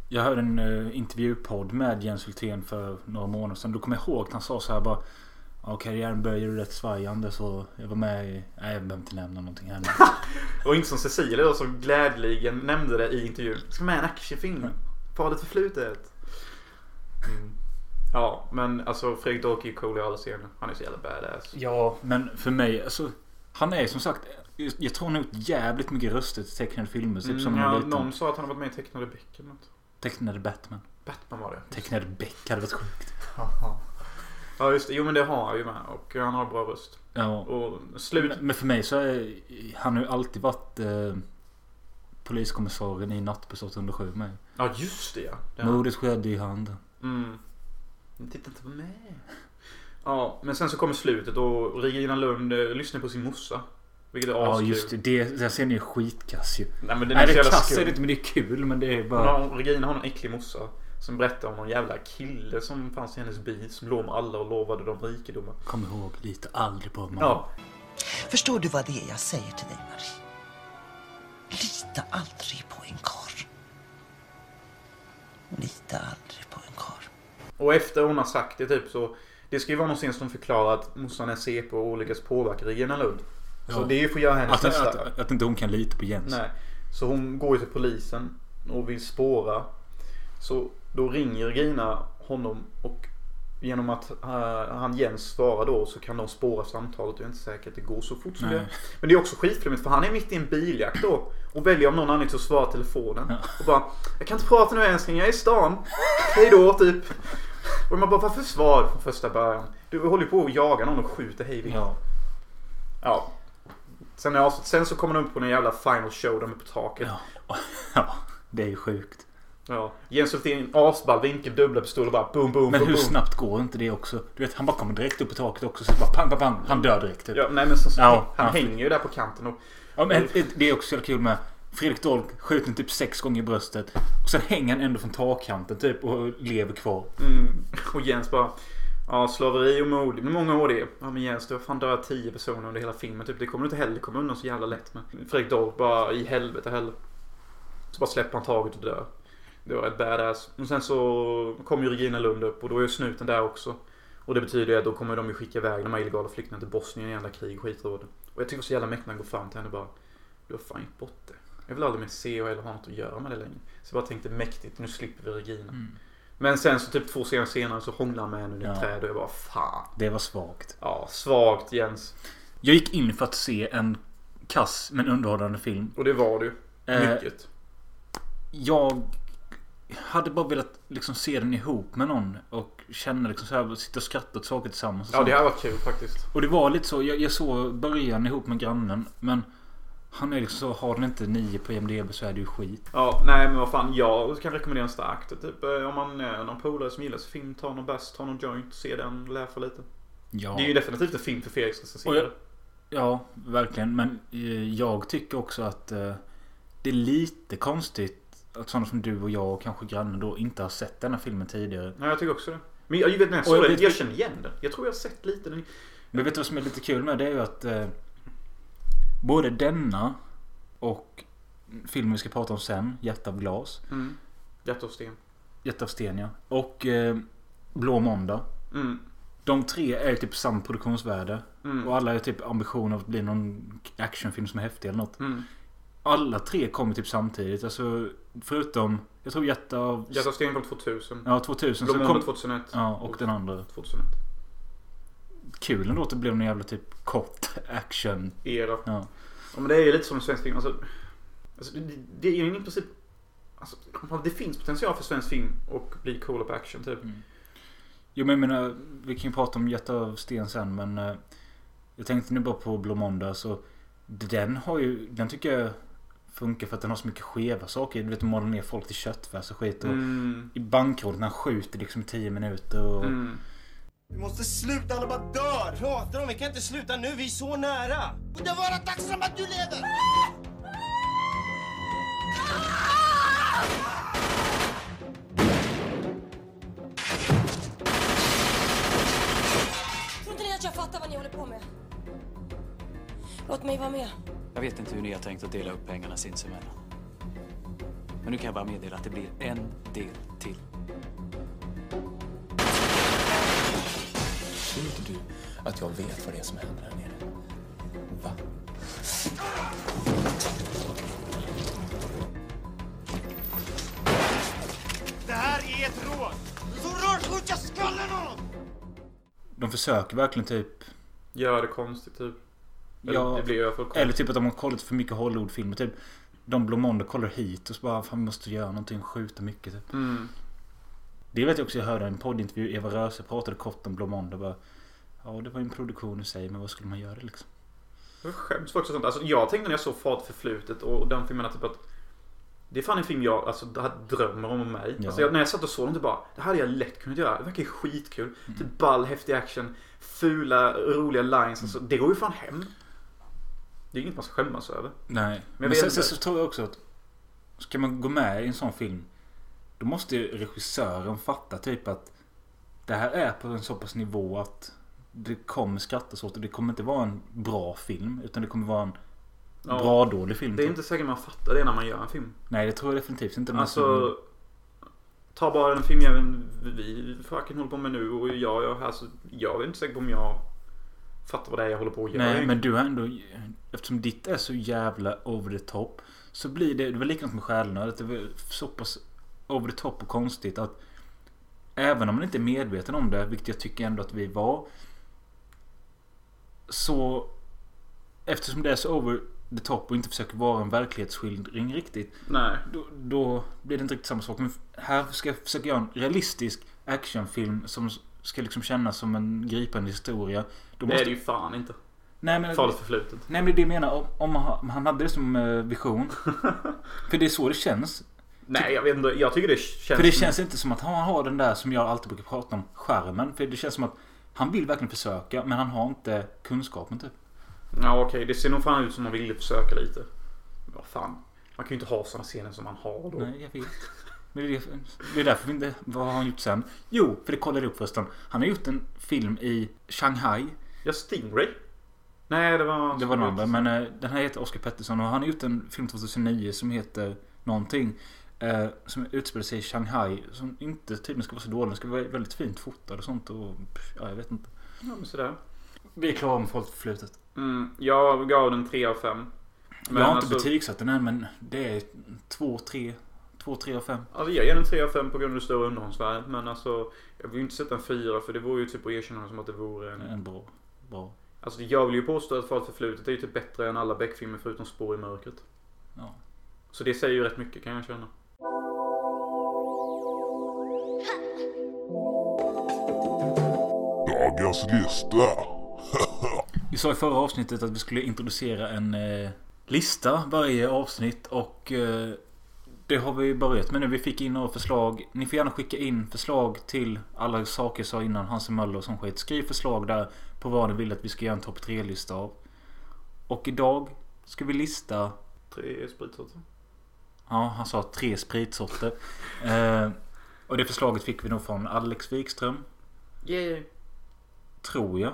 Speaker 1: Jag hörde en eh, intervjupodd med Jens Hultén för några månader sedan. Då kommer jag ihåg att han sa så här bara Ja, karriären började ju rätt svajande så jag var med i... Nej, jag behöver inte nämna någonting här nu.
Speaker 2: Och inte som Cecilia då som glädjeligen nämnde det i intervjun. Ska med i en actionfilm.
Speaker 1: Mm.
Speaker 2: Farligt förflutet. Mm. Ja, men alltså Fredrik Dork är ju cool i alla scener. Han är så jävla badass.
Speaker 1: Ja, men för mig alltså Han är som sagt jag- Jag tror han har gjort jävligt mycket röster till tecknade filmer. Typ som
Speaker 2: Mm,
Speaker 1: en
Speaker 2: ja,
Speaker 1: liten
Speaker 2: någon sa att han har varit med i tecknade Beck eller något.
Speaker 1: tecknade Batman.
Speaker 2: Batman var det.
Speaker 1: Tecknade Beck hade varit sjukt.
Speaker 2: Ja, just det. Jo, men det har han ju med. Och han har bra röst.
Speaker 1: Ja.
Speaker 2: Och slut...
Speaker 1: Men för mig så är han har ju alltid varit eh, poliskommissarien i Nattbuss 807 med.
Speaker 2: Ja, just det ja. Det har han.
Speaker 1: Mordet skedde i handen.
Speaker 2: Mm. Men Titta inte på mig. Ja, men sen så kommer slutet och Regina Lund eh, lyssnar på sin morsa. Vilket är
Speaker 1: Ja
Speaker 2: askul.
Speaker 1: just det. det. Den scenen är skitkass ju.
Speaker 2: Nej men den
Speaker 1: Nej
Speaker 2: är
Speaker 1: det
Speaker 2: så
Speaker 1: är
Speaker 2: jävla
Speaker 1: kass är det
Speaker 2: skum.
Speaker 1: inte men det är kul men det är
Speaker 2: Hon
Speaker 1: bara...
Speaker 2: har, Regina har en äcklig morsa. Som berättar om någon jävla kille som fanns i hennes by. Som låg med alla och lovade dem rikedomar.
Speaker 1: Kom ihåg, lita aldrig på mamma.
Speaker 2: Ja.
Speaker 10: Förstår du vad det är jag säger till dig, Marie? Lita aldrig på en karl. Lita aldrig på en karl.
Speaker 2: Och efter hon har sagt det typ så. Det ska ju vara någon scen som förklarar att morsan är CP och lyckas påverka Regina Lund. Så
Speaker 1: Ja.
Speaker 2: det är ju för att göra hennes
Speaker 1: Att,
Speaker 2: nästa.
Speaker 1: att, att inte hon kan lita på Jens.
Speaker 2: Nej. Så hon går ju till polisen och vill spåra. Så då ringer Regina honom och genom att eh, han Jens svarar då så kan de spåra samtalet. Jag är inte säker att det går så fort som
Speaker 1: Nej.
Speaker 2: det. Men det är också skitflummigt för han är mitt i en biljakt då. Och väljer av någon anledning att svara telefonen. Och bara Jag kan inte prata nu älskling, jag är i stan. Hej då typ. Och man bara varför svar från första början? Du håller ju på att jaga någon och skjuter hej vilt.
Speaker 1: Ja.
Speaker 2: Ja. Sen, är avsnitt- sen så kommer de upp på den jävla final show där uppe på taket. Ja.
Speaker 1: ja. Det är ju sjukt.
Speaker 2: Jens Hultén asball vinkel, dubbla pistoler och bara boom, boom,
Speaker 1: Men
Speaker 2: boom,
Speaker 1: hur
Speaker 2: boom.
Speaker 1: snabbt går inte det också? Du vet han bara kommer direkt upp på taket också. Så bara pang, pang, pang. Han dör direkt. Typ.
Speaker 2: Ja, nej men som sagt,
Speaker 1: Ja,
Speaker 2: han
Speaker 1: han-
Speaker 2: hänger ju där på kanten och...
Speaker 1: Ja, men det är också så jävla kul med Fredrik Dolk skjuten typ sex gånger i bröstet. Och sen hänger han ändå från takkanten typ och lever kvar.
Speaker 2: Mm, och Jens bara... Ja, slaveri och mord. Hur många år det är? Ja, men Jens, du har fan dödat tio personer under hela filmen. Typ. Det kommer du inte heller komma undan så jävla lätt med. Fredrik Dorf bara i helvete heller. Så bara släpper han taget och dör. Det var ett badass. Och sen så kommer ju Regina Lund upp och då är ju snuten där också. Och det betyder ju att då kommer de ju skicka iväg de här illegala flyktingarna till Bosnien i andra krig och skitråd. Och jag tycker så jävla mäktigt när han går fram till henne och bara Du har fan gjort bort det. Jag vill aldrig mer se och eller ha något att göra med det längre. Så jag bara tänkte mäktigt, nu slipper vi Regina. Men sen så typ två scener senare så hånglar han med henne under ett
Speaker 1: Ja.
Speaker 2: träd och jag bara fan.
Speaker 1: Det var svagt.
Speaker 2: Ja, svagt Jens.
Speaker 1: Jag gick in för att se en kass men underhållande film.
Speaker 2: Och det var du.
Speaker 1: Eh,
Speaker 2: Mycket.
Speaker 1: jag hade bara velat liksom se den ihop med någon och känna liksom så här, sitta och skratta åt saker tillsammans. Och
Speaker 2: Ja,
Speaker 1: sånt.
Speaker 2: det här var kul faktiskt.
Speaker 1: Och det var lite så. Jag, jag såg början ihop med grannen. Men han är liksom så. Har den inte nio på IMDB så är det ju skit.
Speaker 2: Ja, nej men vad fan. Jag kan rekommendera en starkt. Typ eh, om man är någon polare som gillar så film, ta någon bäst, ta någon joint, se den, lära lite.
Speaker 1: Ja.
Speaker 2: Det är ju definitivt en film för Felix
Speaker 1: Och jag-
Speaker 2: recenserare.
Speaker 1: Ja, verkligen. Men eh, jag tycker också att eh, det är lite konstigt att sådana som du och jag och kanske grannen då inte har sett den här filmen tidigare.
Speaker 2: Nej, jag tycker också det. Men jag, jag vet när jag
Speaker 1: Och
Speaker 2: såg
Speaker 1: jag
Speaker 2: den,
Speaker 1: vet-
Speaker 2: jag känner igen den. Jag tror jag har sett lite den.
Speaker 1: Men vet du vad som är lite kul med det? är ju att eh, både denna och filmen vi ska prata om sen, Hjärta av glas,
Speaker 2: Mm. Hjärta av sten.
Speaker 1: Hjärta av sten ja, och eh, Blå måndag.
Speaker 2: Mm.
Speaker 1: De tre är ju typ samma produktionsvärde.
Speaker 2: Mm.
Speaker 1: Och alla har ju typ ambition av att bli någon actionfilm som är häftig eller något.
Speaker 2: Mm.
Speaker 1: Alla tre kommer typ samtidigt. Alltså förutom, jag tror Hjärta av...
Speaker 2: Hjärta av sten kom 2000.
Speaker 1: Ja, 2000.
Speaker 2: Blå
Speaker 1: så
Speaker 2: måndag
Speaker 1: kom,
Speaker 2: 2001.
Speaker 1: ja, och den andra.
Speaker 2: 2001.
Speaker 1: Kul ändå att det blev någon jävla typ kort action.
Speaker 2: Era.
Speaker 1: Ja.
Speaker 2: Ja, men det är ju lite som svensk film. Alltså, alltså, det, det är ju i princip... Alltså, det finns potential för svensk film och bli coola på action typ.
Speaker 1: Jo men jag menar, vi kan ju prata om Hjärta av sten sen men... eh, Jag tänkte nu bara på Blå måndag så... Den har ju, den tycker jag funkar för att den har så mycket skeva saker. Du vet, de målar ner folk till köttfärs och skit. Och
Speaker 2: Mm.
Speaker 1: I bankrådet när han skjuter liksom i 10 minuter och...
Speaker 2: Mm.
Speaker 10: Vi måste sluta, alla bara dör! Pratar om, vi kan inte sluta nu, vi är så nära!
Speaker 6: Borde vara tacksam att du lever!
Speaker 5: Tror inte ni att jag fattar vad ni håller på med?
Speaker 11: Låt mig vara med.
Speaker 12: Jag vet inte hur ni har tänkt att dela upp pengarna sinsemellan. Men nu kan jag bara meddela att det blir en del till.
Speaker 13: Tror inte du att jag vet vad det är som händer här nere? Va?
Speaker 6: Det här är ett rån! Så rör jag skallen av honom!
Speaker 1: De försöker verkligen typ...
Speaker 2: Göra det konstigt typ. Eller,
Speaker 1: Ja,
Speaker 2: det blir i alla fall konstigt.
Speaker 1: eller typ att de har kollat för mycket Hollywoodfilmer. Typ, de Blomonder kollar hit och så bara fan vi måste göra någonting, skjuta mycket typ.
Speaker 2: Mm.
Speaker 1: Det vet jag också, jag hörde en poddintervju. Eva Röse pratade kort om Blomonder. Bara, ja det var ju en produktion i sig men vad skulle man göra liksom?
Speaker 2: Jag skäms faktiskt för sånt. Alltså, jag tänkte när jag såg Fart förflutet och, och den filmen att typ att det är fan en film jag alltså, det här drömmer om mig.
Speaker 1: Ja.
Speaker 2: Alltså, jag, när jag satt och såg den typ bara Det här hade jag lätt kunnat göra. Det verkar ju skitkul.
Speaker 1: Mm.
Speaker 2: Typ ball, häftig action, fula, roliga lines. Alltså, det går ju fan hem. Det är inget man ska skämmas över.
Speaker 1: Nej.
Speaker 2: Men jag
Speaker 1: Men,
Speaker 2: vet
Speaker 1: sen,
Speaker 2: inte.
Speaker 1: sen så tror jag också att ska man gå med i en sån film då måste ju regissören fatta typ att det här är på en så pass nivå att det kommer skrattas åt och det kommer inte vara en bra film utan det kommer vara en
Speaker 2: Ja.
Speaker 1: bra dålig film.
Speaker 2: Det är
Speaker 1: typ.
Speaker 2: inte säkert man fattar det när man gör en film.
Speaker 1: Nej det tror jag definitivt inte. men
Speaker 2: Alltså, ta bara den filmjäveln vi fucking håller på med nu och jag, jag, alltså, jag är inte säker på om jag fattar vad det är jag håller på att göra.
Speaker 1: Nej, men du har ändå... Eftersom ditt är så jävla over the top. Så blir det... Det var likadant med Själenödet. Det var så pass over the top och konstigt att... Även om man inte är medveten om det, vilket jag tycker ändå att vi var. Så... Eftersom det är så over the top och inte försöker vara en verklighetsskildring riktigt.
Speaker 2: Nej.
Speaker 1: Då, då blir det inte riktigt samma sak. Men här ska jag försöka göra en realistisk actionfilm som ska liksom kännas som en gripande historia. Då
Speaker 2: Det är
Speaker 1: måste-
Speaker 2: det ju fan inte.
Speaker 1: Nej men...
Speaker 2: Farligt förflutet.
Speaker 1: Nej men det är det jag menar. Om, om han- om han hade det som eh, vision. För det är så det känns.
Speaker 2: Nej, jag vet inte. Jag tycker det känns...
Speaker 1: För det känns inte som att han har den där som jag alltid brukar prata om. Skärmen. För det känns som att han vill verkligen försöka men han har inte kunskapen typ.
Speaker 2: Ja, okej. Det ser nog fan ut som man ville försöka lite. Men Vad fan. Man kan ju inte ha såna scener som man har då.
Speaker 1: Nej, jag vet. Men det, är, det är därför vi inte... Vad har han gjort sen? Jo, för det kollade jag upp förresten. Han har gjort en film i Shanghai.
Speaker 2: Ja, Stingray. Nej, det var...
Speaker 1: Det var den andra. Men eh, den här heter Oscar Pettersson och han har gjort en film 2009 som heter någonting. Eh, som utspelar sig i Shanghai. Som inte tydligen ska vara så dålig. Den ska vara väldigt fint fotad och sånt. Och, pff, ja, jag vet inte.
Speaker 2: Ja, men sådär.
Speaker 1: Vi är klara med folkförflutet.
Speaker 2: Mm, jag gav den 3 av alltså- 5.
Speaker 1: Jag har inte betygsatt den än men det är 2, 3. 2, 3 och 5.
Speaker 2: Alltså jag ger den 3 av 5 på grund av det stora underhållsvärdet. Men alltså, jag vill ju inte sätta en 4 för det vore ju typ att erkänna som att det vore en...
Speaker 1: En bra. bra.
Speaker 2: Alltså jag vill ju påstå att Farligt förflutet är ju typ bättre än alla Beck-filmer förutom Spår i mörkret.
Speaker 1: Ja.
Speaker 2: Så det säger ju rätt mycket kan jag känna.
Speaker 14: Dagens lista.
Speaker 1: Vi sa i förra avsnittet att vi skulle introducera en eh, lista varje avsnitt och eh, det har vi börjat med nu. Vi fick in några förslag. Ni får gärna skicka in förslag till alla saker jag sa innan. Hans Möller och sån skit. Skriv förslag där på vad ni vill att vi ska göra en topp 3-lista av. Och idag ska vi lista...
Speaker 2: Tre spritsorter.
Speaker 1: Ja, han sa tre spritsorter. eh, och det förslaget fick vi nog från Alex Wikström.
Speaker 2: Yay.
Speaker 1: Tror jag.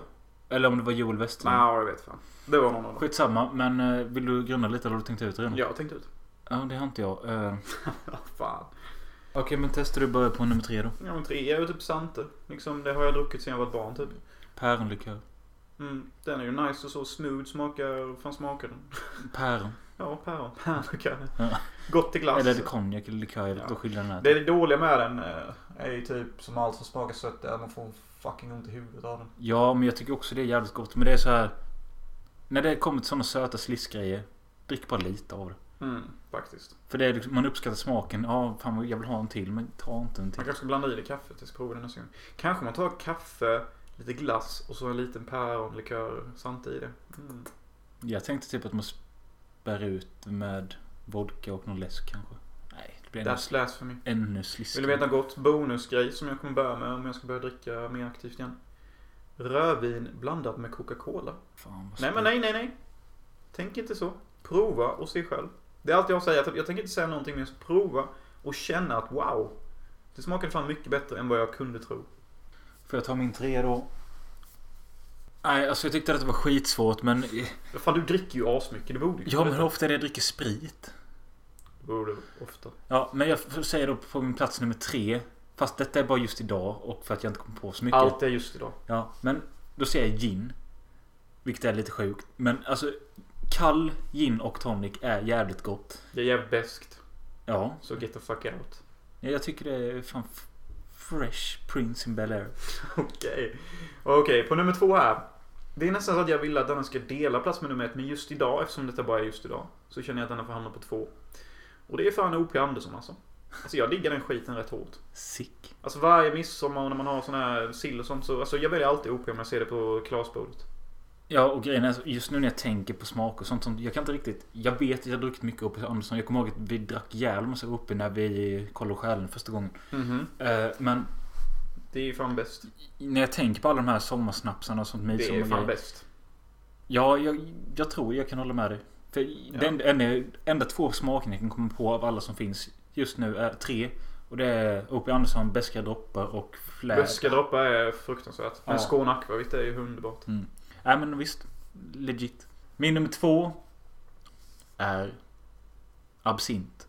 Speaker 1: Eller om det var Joel Westerling.
Speaker 2: Nej, jag vet fan. Det var någon av dem.
Speaker 1: Skitsamma, men eh, vill du grunna lite eller har du tänkt ut redan?
Speaker 2: Ja, jag tänkte ut.
Speaker 1: Ja, det har inte jag. Eh,
Speaker 2: Fan.
Speaker 1: Okej, men testar du börja på nummer tre då.
Speaker 2: Ja, men tre är ju typ Sante. Liksom, det har jag druckit sedan jag var ett barn typ.
Speaker 1: Päronlikör.
Speaker 2: Mm, den är ju nice och så smooth smakar... Vad fan smakar den?
Speaker 1: Päron.
Speaker 2: Ja, päron. Päron
Speaker 1: Ja.
Speaker 2: Gott i glass.
Speaker 1: Eller är det konjak eller likör? Jag vet inte
Speaker 2: Alltså. Ja.
Speaker 1: vad skillnaden är.
Speaker 2: Det är dåliga med den eh, är ju typ som allt som smakar sött är att man får fucking ont i huvudet av den.
Speaker 1: Ja, men jag tycker också det är jävligt gott. Men det är så här. När det kommer till sådana söta sliskgrejer. Drick bara lite av det.
Speaker 2: Mm, faktiskt.
Speaker 1: För det är liksom, man uppskattar smaken. Ja, fan vad jag vill ha en till. Men ta inte en till.
Speaker 2: Man kanske ska blanda i det i kaffet tills provar den nästa gång. Kanske man tar kaffe, lite glass och så en liten päronlikör sant i det. Mm.
Speaker 1: Jag tänkte typ att man spär ut med vodka och någon läsk kanske. Nej, det blir ännu-
Speaker 2: That's blasphemy.
Speaker 1: Ännu sliskigare.
Speaker 2: Vill du veta något gott? Bonusgrej som jag kommer börja med om jag ska börja dricka mer aktivt igen. Rödvin blandat med Coca-Cola.
Speaker 1: Fan, vad
Speaker 2: nej men nej, nej, nej. Tänk inte så. Prova och se själv. Det är allt jag säger. Jag tänker inte säga någonting mer. så Prova och känna att wow. Det smakade fan mycket bättre än vad jag kunde tro.
Speaker 1: Får jag ta min tre då? Nej, alltså jag tyckte att det var skitsvårt men...
Speaker 2: Fan, du dricker ju asmycket. Det borde ju
Speaker 1: Ja, men hur ofta är det jag dricker sprit?
Speaker 2: Det borde ofta.
Speaker 1: Ja, men jag f- säger då på min plats nummer tre. Fast detta är bara just idag och för att jag inte kom på så mycket.
Speaker 2: Allt är just idag.
Speaker 1: Ja, men då säger jag gin. Vilket är lite sjukt. Men alltså, kall gin och tonic är jävligt gott.
Speaker 2: Det är jävligt beskt.
Speaker 1: Ja.
Speaker 2: Så get the fuck out.
Speaker 1: Ja, Jag tycker det är fan f- Fresh Prince in Bel-Air.
Speaker 2: Okej. Okej, på nummer två här. Det är nästan så att jag vill att denna ska dela plats med nummer ett, men just idag, eftersom detta bara är just idag, så känner jag att denna får hamna på två. Och det är fan O.P. Andersson alltså. Alltså jag diggar den skiten rätt hårt.
Speaker 1: Sick.
Speaker 2: Alltså varje midsommar och när man har sån här sill och sånt så, alltså jag väljer alltid O.P. om jag ser det på glasbordet.
Speaker 1: Ja, och grejen är så- just nu när jag tänker på smak och sånt. sånt jag kan inte riktigt... Jag vet att jag har druckit mycket Opus Andersson. Jag kommer ihåg att vi drack jävla massa Opus när vi kollade själen första gången.
Speaker 2: Mhm.
Speaker 1: Eh, men
Speaker 2: Det är ju fan bäst.
Speaker 1: när jag tänker på alla de här sommarsnapsarna och sånt
Speaker 2: Det är fan
Speaker 1: midsommargrejer.
Speaker 2: bäst.
Speaker 1: Ja, jag, jag tror jag kan hålla med dig. För den, den enda två smakerna jag kan komma på av alla som finns just nu är tre. Och det är O.P. Andersson, Beska droppar och Flärd.
Speaker 2: Böska droppar är fruktansvärt. Men
Speaker 1: Äh, Ja.
Speaker 2: Skåne Akvavit är ju underbart.
Speaker 1: Mm. Nej men visst. Legit. Min nummer två är absint.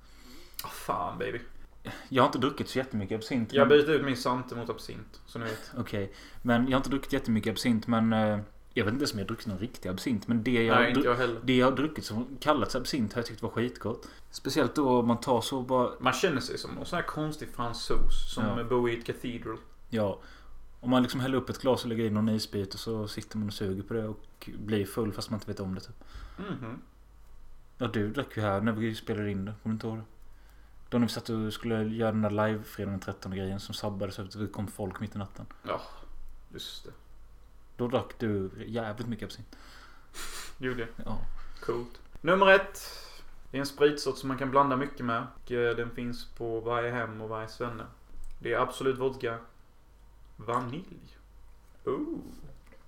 Speaker 2: Ah, fan baby.
Speaker 1: Jag har inte druckit så jättemycket absint.
Speaker 2: Jag
Speaker 1: men-
Speaker 2: byter ut min Sante mot absint. Så ni vet.
Speaker 1: Okej. Men jag har inte druckit jättemycket absint men... eh, Jag vet inte ens om jag har druckit någon riktig absint. Men det jag,
Speaker 2: Nej, inte
Speaker 1: dru-
Speaker 2: jag heller.
Speaker 1: det jag har druckit som kallats absint har jag tyckt var skitgott. Speciellt då om man tar så bara...
Speaker 2: Man känner sig som någon sån här konstig fransos som
Speaker 1: Ja.
Speaker 2: bor i ett cathedral.
Speaker 1: Ja. Om man liksom häller upp ett glas och lägger in någon isbit och så sitter man och suger på det och blir full fast man inte vet om det typ.
Speaker 2: Mhm.
Speaker 1: Ja, du drack ju här när vi spelade in det. Kommer du inte ihåg det? Då när vi satt och skulle göra den där live fredagen den 13 grejen som sabbades efter att det kom folk mitt i natten.
Speaker 2: Ja, just det.
Speaker 1: Då drack du jävligt mycket absint.
Speaker 2: Gjorde jag.
Speaker 1: Ja.
Speaker 2: Coolt. Nummer ett. Det är en spritsort som man kan blanda mycket med. Och eh, den finns på varje hem och varje svenne. Det är Absolut Vodka. Vanilj. Ooh.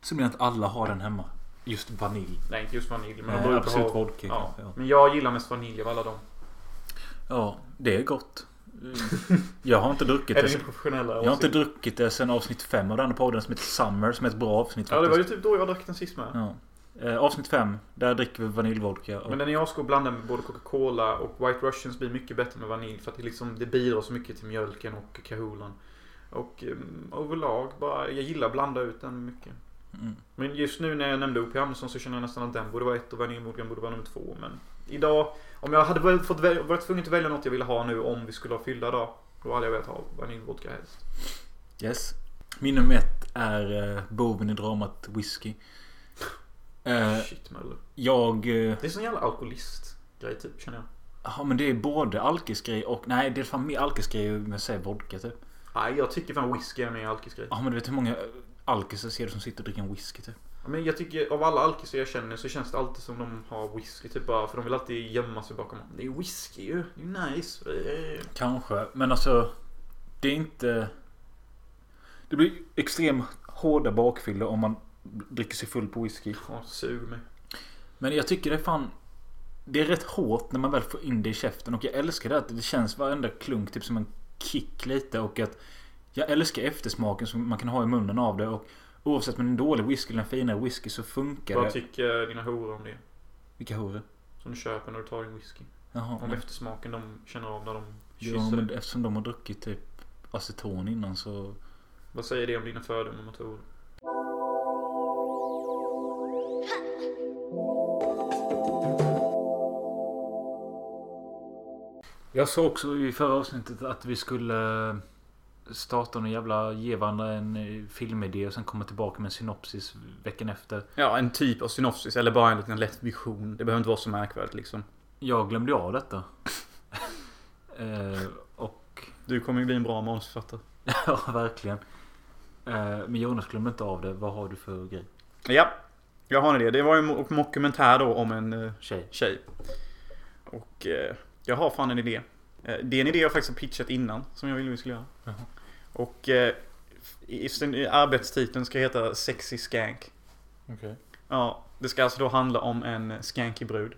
Speaker 1: Så menar jag att alla har den hemma. Just vanilj.
Speaker 2: Nej, inte just vanilj. Men
Speaker 1: Nej,
Speaker 2: de brukar
Speaker 1: Absolut
Speaker 2: ha...
Speaker 1: Vodka
Speaker 2: ja.
Speaker 1: kanske, ja.
Speaker 2: Men jag gillar mest vanilj av alla dem.
Speaker 1: Ja, det är gott. Jag har inte druckit
Speaker 2: Är
Speaker 1: det.
Speaker 2: det
Speaker 1: sen-
Speaker 2: din professionella
Speaker 1: Jag har inte
Speaker 2: åsikt?
Speaker 1: druckit det sen avsnitt 5 av den här podden som heter Summer som är ett bra avsnitt
Speaker 2: Ja, det var ju
Speaker 1: faktiskt.
Speaker 2: typ då jag drack den sist med.
Speaker 1: Ja. Eh, avsnitt 5. Där dricker vi vaniljvodka. Och...
Speaker 2: Men den är asgod blandad med både Coca-Cola och White Russians blir mycket bättre med vanilj för att det, liksom, det bidrar så mycket till mjölken och kahoolan. Och um, överlag bara, jag gillar att blanda ut den mycket.
Speaker 1: Mm.
Speaker 2: Men just nu när jag nämnde O.P. Andersson så känner jag nästan att den borde vara ett och vaniljvodkan borde vara nummer två. Men idag, om jag hade väl fått väl, varit tvungen att välja något jag ville ha nu om vi skulle ha fyllda dag. Då hade jag velat ha vaniljvodka helst.
Speaker 1: Yes. Min nummer ett är eh, boven i dramat whisky. Eh,
Speaker 2: Shit Möller.
Speaker 1: jag... eh,
Speaker 2: Det är sån jävla alkoholist-grej typ känner jag.
Speaker 1: Ja men det är både alkisgrej och... Nej det är fan mer alkisgrej om jag säger vodka typ.
Speaker 2: Nej, jag tycker fan whisky är mer alkisgrej.
Speaker 1: Ja men du vet hur många eh, alkisar ser du som sitter och dricker en whisky typ.
Speaker 2: Ja, Men jag tycker av alla alkisar jag känner så känns det alltid som de har whisky typ bara för de vill alltid gömma sig bakom Det är whisky ju, det är nice. Eh.
Speaker 1: Kanske. Men alltså... Det är inte... Det blir extremt hårda bakfyllor om man dricker sig full på whisky.
Speaker 2: Ja, sug mig.
Speaker 1: Men jag tycker det är fan... Det är rätt hårt när man väl får in det i käften och jag älskar det att det känns varenda klunk typ som en kick lite och att... Jag älskar eftersmaken som man kan ha i munnen av det och oavsett om det är en dålig whisky eller en finare whisky så funkar
Speaker 2: Vad
Speaker 1: det.
Speaker 2: tycker dina horor om det?
Speaker 1: Vilka horor?
Speaker 2: Som du köper när du tar din whisky.
Speaker 1: Jaha,
Speaker 2: om
Speaker 1: nej.
Speaker 2: eftersmaken de känner av när de
Speaker 1: Ja,
Speaker 2: kysser
Speaker 1: men
Speaker 2: dig.
Speaker 1: eftersom de har druckit typ aceton innan så...
Speaker 2: Vad säger det om dina fördomar mot horor?
Speaker 1: Jag sa också i förra avsnittet att vi skulle starta en jävla... Ge varandra en eh, filmidé och sen komma tillbaka med en synopsis veckan efter.
Speaker 2: Ja, en typ av synopsis eller bara en liten lätt vision. Det behöver inte vara så märkvärdigt liksom.
Speaker 1: Jag glömde ju av detta. eh, och...
Speaker 2: Du kommer ju bli en bra manusförfattare.
Speaker 1: ja, verkligen. Eh, men Jonas glömde inte av det. Vad har du för grej?
Speaker 2: Ja, jag har en idé. Det var ju en mo- mockumentär då om en eh,
Speaker 1: Tjej.
Speaker 2: tjej. Och eh, jag har fan en idé. Eh, det är en idé jag faktiskt har pitchat innan som jag ville vi skulle göra.
Speaker 1: Jaha.
Speaker 2: Och eh, i, i, arbetstiteln ska heta Sexy Skank.
Speaker 1: Okej.
Speaker 2: Ja, det ska alltså då handla om en skanky brud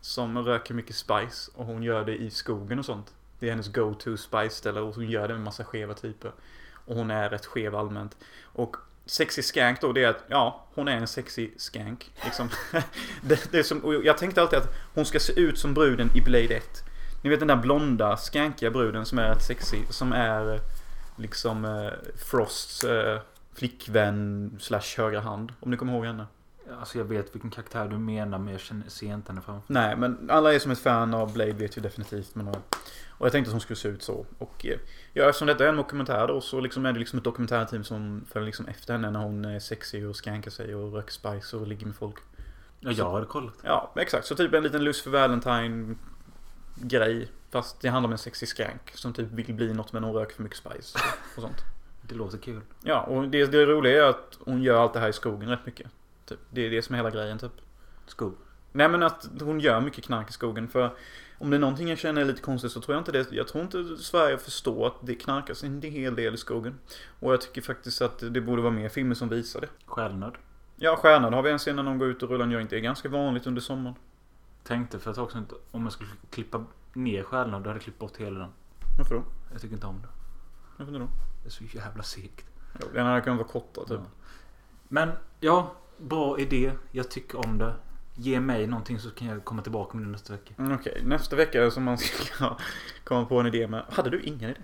Speaker 2: som röker mycket spice och hon gör det i skogen och sånt. Det är hennes go-to spice ställe och hon gör det med massa skeva typer. Och hon är rätt skev allmänt. Och sexy skank då, det är att ja, hon är en sexy skank. Liksom. det, det är som, och jag tänkte alltid att hon ska se ut som bruden i Blade 1. Ni vet den där blonda, skankiga bruden som är rätt sexy, som är liksom eh, Frosts eh, flickvän slash högra hand. Om ni kommer ihåg henne.
Speaker 1: Alltså jag vet vilken karaktär du menar men jag känner, ser inte henne framför
Speaker 2: Nej, men alla är som ett fan av Blade vet ju definitivt. Men, eh, och jag tänkte att hon skulle se ut så. Och eh, ja, eftersom detta är en dokumentär då så liksom är det liksom ett dokumentärteam som följer liksom efter henne när hon är sexy och skankar sig och röker spice och ligger med folk.
Speaker 1: Ja, jag hade kollat.
Speaker 2: Ja, exakt. Så typ en liten Lucifer Valentine grej. Fast det handlar om en sexy skank som typ vill bli något men hon röker för mycket spice och, och sånt.
Speaker 1: Det låter kul.
Speaker 2: Ja, och det, det roliga är att hon gör allt det här i skogen rätt mycket. Typ. Det är det som är hela grejen typ.
Speaker 1: Skog.
Speaker 2: Nej men att hon gör mycket knark i skogen för om det är någonting jag känner är lite konstigt så tror jag inte det. Jag tror inte Sverige förstår att det knarkas en hel del i skogen. Och jag tycker faktiskt att det borde vara mer filmer som visar det.
Speaker 1: Stjärnöd.
Speaker 2: Ja, stjärnan har vi en scen när de går ut och rullar en joint. Det är ganska vanligt under sommaren.
Speaker 1: Tänkte för ett tag sedan att om jag skulle klippa ner Stjärnöd då hade jag klippt bort hela den.
Speaker 2: Varför då?
Speaker 1: Jag tycker inte om det.
Speaker 2: Varför inte då?
Speaker 1: Det är så jävla segt.
Speaker 2: Jo, Den hade kunnat vara kortare typ.
Speaker 1: Ja. Men ja, bra idé. Jag tycker om det. Ge mig någonting så kan jag komma tillbaka med det nästa vecka.
Speaker 2: Mm, Okej, nästa vecka som man ska komma på en idé med. Hade du ingen idé?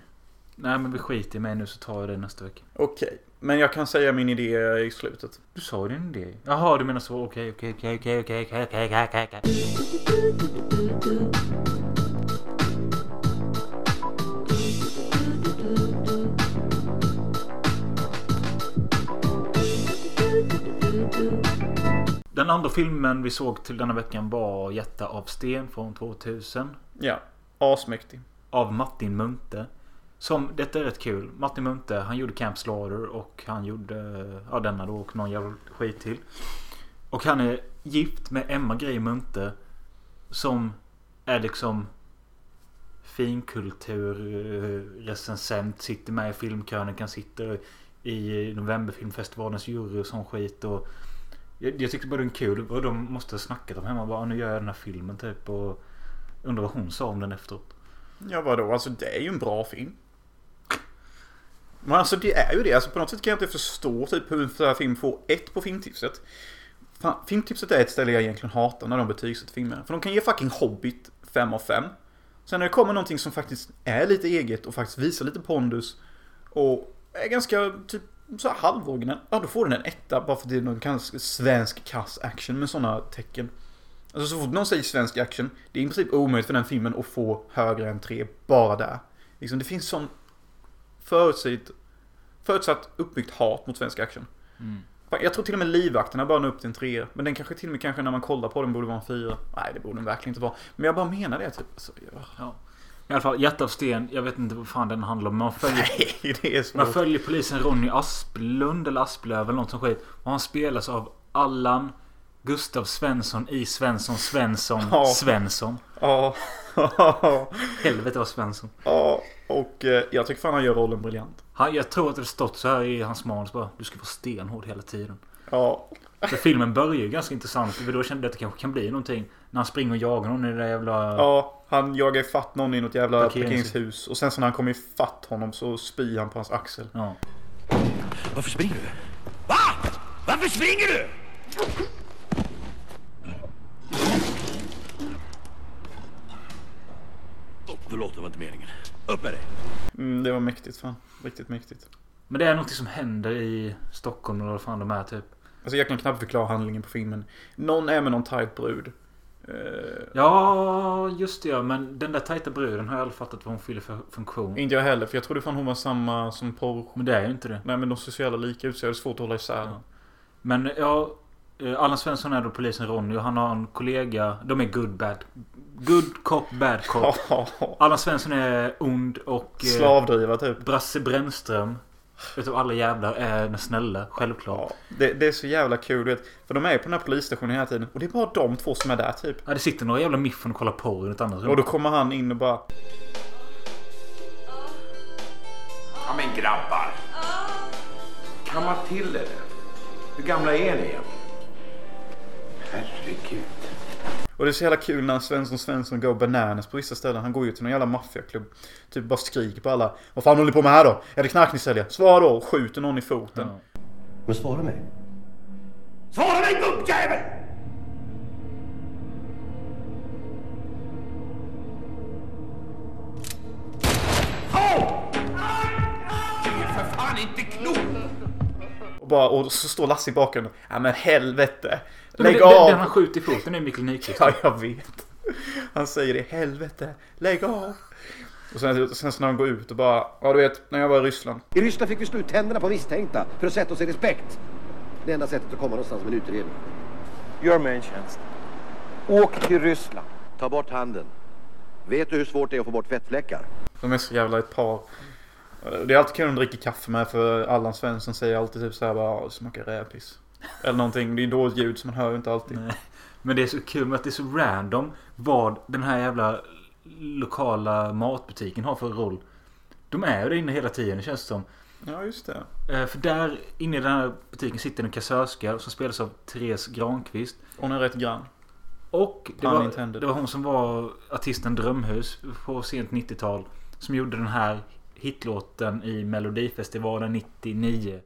Speaker 1: Nej men vi skiter i mig nu så tar jag det nästa vecka.
Speaker 2: Okej, men jag kan säga min idé i slutet.
Speaker 1: Du sa ju din idé. Jaha, du menar så. Okej, okej, okej, okej, okej, okej, okej, okej, okej, okej. Den andra filmen vi såg till denna veckan var Jätta av sten från 2000.
Speaker 2: Ja, asmäktig.
Speaker 1: Av Martin Munthe. Som, detta är rätt kul. Martin Munthe, han gjorde Camp Slaughter och han gjorde, ja denna då och någon jävla skit till. Och han är gift med Emma Grey Munthe. Som är liksom finkulturrecensent. Sitter med i Filmkrönikan, sitter i Novemberfilmfestivalens jury och sån skit. Och jag, jag tyckte bara den kul. Och de måste ha snackat om hemma. Bara, nu gör jag den här filmen typ. Och undrar vad hon sa om den efteråt.
Speaker 2: Ja, vadå? Alltså det är ju en bra film. Men alltså det är ju det. Alltså på något sätt kan jag inte förstå typ hur en sån här film får ett på filmtipset. Fan, filmtipset är ett ställe jag egentligen hatar när de betygsätter filmer. För de kan ge fucking Hobbit 5 av 5. Sen när det kommer någonting som faktiskt är lite eget och faktiskt visar lite pondus och är ganska typ så här halvoriginell. Ja, då får den en etta bara för att det är någon ganska svensk kass action med sådana tecken. Alltså så fort någon säger svensk action, det är i princip omöjligt för den filmen att få högre än tre bara där. Liksom, det finns sån förutsatt, förutsatt uppbyggt hat mot svensk action.
Speaker 1: Mm.
Speaker 2: Fan, Jag tror till och med livvakterna bara når upp till en trea. Men den kanske till och med kanske när man kollar på den borde vara en fyra. Nej, det borde den verkligen inte vara. Men jag bara menar det typ. Alltså, jag...
Speaker 1: Ja. I alla fall, Hjärta av sten. Jag vet inte vad fan den handlar om. men Man följer,
Speaker 2: Nej, det är
Speaker 1: man
Speaker 2: så.
Speaker 1: följer polisen Ronny Asplund eller Asplöv eller något som skit. Och han spelas av Allan Gustav Svensson i Svensson Svensson
Speaker 2: Ja.
Speaker 1: Svensson.
Speaker 2: Ja.
Speaker 1: Helvete vad Svensson.
Speaker 2: Ja. Och eh, jag tycker fan han gör rollen briljant.
Speaker 1: Han, jag tror att det har stått så här i hans manus bara. Du ska vara stenhård hela tiden.
Speaker 2: Ja.
Speaker 1: För filmen börjar ju ganska intressant. För då kände jag att det kanske kan bli någonting. När han springer och jagar någon i det där jävla...
Speaker 2: Ja, han jagar ifatt någon i något jävla
Speaker 1: Parkeringshus.
Speaker 2: parkeringshus. Och sen så när han kommer ifatt honom så spyr han på hans axel.
Speaker 1: Ja.
Speaker 13: Varför springer du?
Speaker 6: Va? Varför springer du?
Speaker 13: Förlåt, det var inte meningen. Upp med dig.
Speaker 2: Mm, det var mäktigt fan. Riktigt mäktigt.
Speaker 1: Men det är något som händer i Stockholm eller vad fan de är typ.
Speaker 2: Alltså jag kan knappt förklara handlingen på filmen. Någon är med någon tight brud. Eh,
Speaker 1: Ja, just det ja. Men den där tajta bruden har jag aldrig fattat vad hon fyller för funktion.
Speaker 2: inte jag heller, för jag trodde fan hon var samma som porr...
Speaker 1: Men det är ju inte det.
Speaker 2: Nej men de ser så jävla lika ut så jag hade svårt att hålla isär.
Speaker 1: Ja. Men ja, eh, Allan Svensson är då polisen Ronny och han har en kollega. De är good bad. Good cop, bad cop. Allan Svensson är ond och eh,
Speaker 2: Slavdriva typ.
Speaker 1: Brasse Brännström utav alla jävlar är den snälla. Självklart.
Speaker 2: Ja, det, det är så jävla kul, du vet. För de är ju på den här polisstationen hela tiden. Och det är bara de två som är där typ.
Speaker 1: Ja, det sitter några jävla miffon och kollar porr i ett annat
Speaker 2: Och
Speaker 1: rum.
Speaker 2: då kommer han in och bara...
Speaker 11: Ja men grabbar. Kamma till er det. Hur gamla är ni egentligen? Herregud.
Speaker 2: Och det är så jävla kul när Svensson Svensson går bananas på vissa ställen. Han går ju till någon jävla maffiaklubb. Typ bara skriker på alla. Vad fan håller ni på med här då? Är det knark ni säljer? Svar då! Skjuter någon i foten.
Speaker 1: Ja.
Speaker 14: Men svara mig.
Speaker 6: Svara mig gubbjävel!
Speaker 11: Du är för fan inte klok!
Speaker 2: Och, bara, och så står Lasse i bakgrunden. Ja men helvete.
Speaker 1: men
Speaker 2: Lägg
Speaker 1: det- det-
Speaker 2: av.
Speaker 1: den han skjuter i foten är Mikael Nyqvist.
Speaker 2: Ja, jag vet. Han säger det. Helvete. Lägg av. Och sen, sen så när de går ut och bara. Ja du vet, när jag var i Ryssland.
Speaker 14: I Ryssland fick vi slå ut tänderna på misstänkta för att sätta oss i respekt. Det enda sättet att komma någonstans med en utredning. Gör mig en tjänst. Åk till Ryssland. Ta bort handen. Vet du hur svårt det är att få bort fettfläckar?
Speaker 2: De är så jävla ett par. Det är alltid kul när de dricker kaffe med för Allan Svensson säger alltid typ såhär bara "Ja, det smakar rävpiss. Eller någonting. Det är dåligt ljud så man hör ju inte alltid.
Speaker 1: Men det är så kul med att det är så random vad den här jävla lokala matbutiken har för roll. De är ju där inne hela tiden, det känns som.
Speaker 2: Ja, just det.
Speaker 1: Eh, För där inne i den här butiken sitter en kassörska som spelas av Therese Granqvist.
Speaker 2: Hon är rätt grann.
Speaker 1: Och det
Speaker 2: Pun
Speaker 1: var,
Speaker 2: intended.
Speaker 1: det var hon som var artisten Drömhus på sent 90-tal. Som gjorde den här hitlåten i Melodifestivalen 99.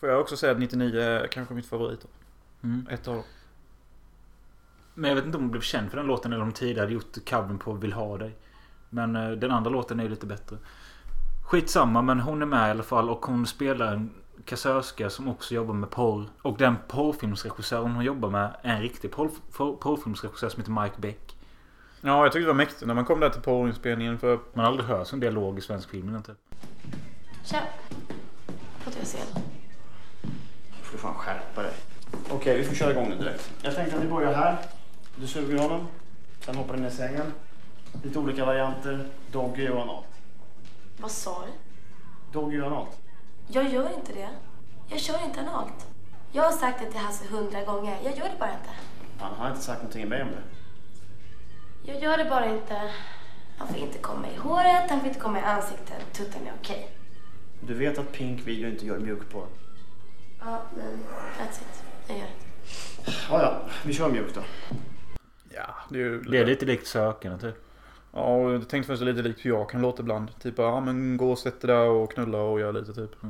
Speaker 2: Får jag också säga att 99 är kanske mitt favorit.
Speaker 1: Mm.
Speaker 2: Ett av dem.
Speaker 1: Men jag vet inte om hon blev känd för den låten eller om hon tidigare hade gjort covern på Vill ha dig. Men eh, den andra låten är ju lite bättre. Skitsamma men hon är med i alla fall och hon spelar en kassörska som också jobbar med porr. Och den porrfilmsregissören hon jobbar med är en riktig porr, porr, porrfilmsregissör som heter Mike Beck.
Speaker 2: Ja, jag tyckte det var mäktigt när man kom där till porrinspelningen för...
Speaker 1: Man aldrig hör sån dialog i svensk film typ. inte.
Speaker 5: Tja. Fått jag se den?
Speaker 15: Nu får du fan skärpa dig. Okej, vi får köra igång nu direkt. Jag tänkte att vi börjar här. Du suger honom. Sen hoppar du ner i sängen. Lite olika varianter. Doggy och analt.
Speaker 16: Vad sa du?
Speaker 15: Doggy och analt.
Speaker 16: Jag gör inte det. Jag kör inte analt. Jag har sagt det till Hasse hundra gånger. Jag gör det bara inte.
Speaker 15: Fan, han har inte sagt någonting till mig om det.
Speaker 16: Jag gör det bara inte. Han får inte komma i håret, han får inte komma i ansiktet. Tuttan är okej.
Speaker 15: Du vet att Pink video inte gör mjukporr.
Speaker 16: Ja, men that's it. Jag gör det.
Speaker 15: Ja, ja. Vi kör mjukt då.
Speaker 2: Ja, det är ju...
Speaker 1: Det är lite likt sökarna typ.
Speaker 2: Ja, och jag tänkte först lite likt hur jag kan låta ibland. Typ ja men gå och sätt dig där och knulla och gör lite typ. det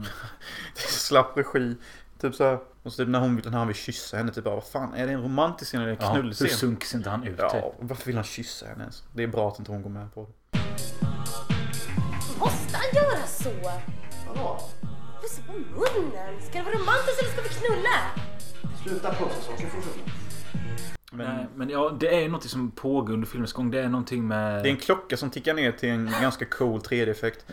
Speaker 2: är slapp regi. Typ så här. Och så typ när hon vill, när han vill kyssa henne typ bara vad fan är det en romantisk scen eller en
Speaker 1: Ja,
Speaker 2: knullscen?
Speaker 1: hur sunks inte han ut,
Speaker 2: Ja,
Speaker 1: typ?
Speaker 2: varför vill han kyssa henne ens? Det är bra att inte hon går med på det.
Speaker 16: Måste han göra så? Vadå? Pussa på munnen. Ska det vara romantiskt eller ska vi knulla?
Speaker 15: Sluta pussa saker för fan.
Speaker 1: Men, Nej, men ja, det är ju något som pågår under filmens gång. Det är någonting med...
Speaker 2: Det är en klocka som tickar ner till en ganska cool 3D-effekt.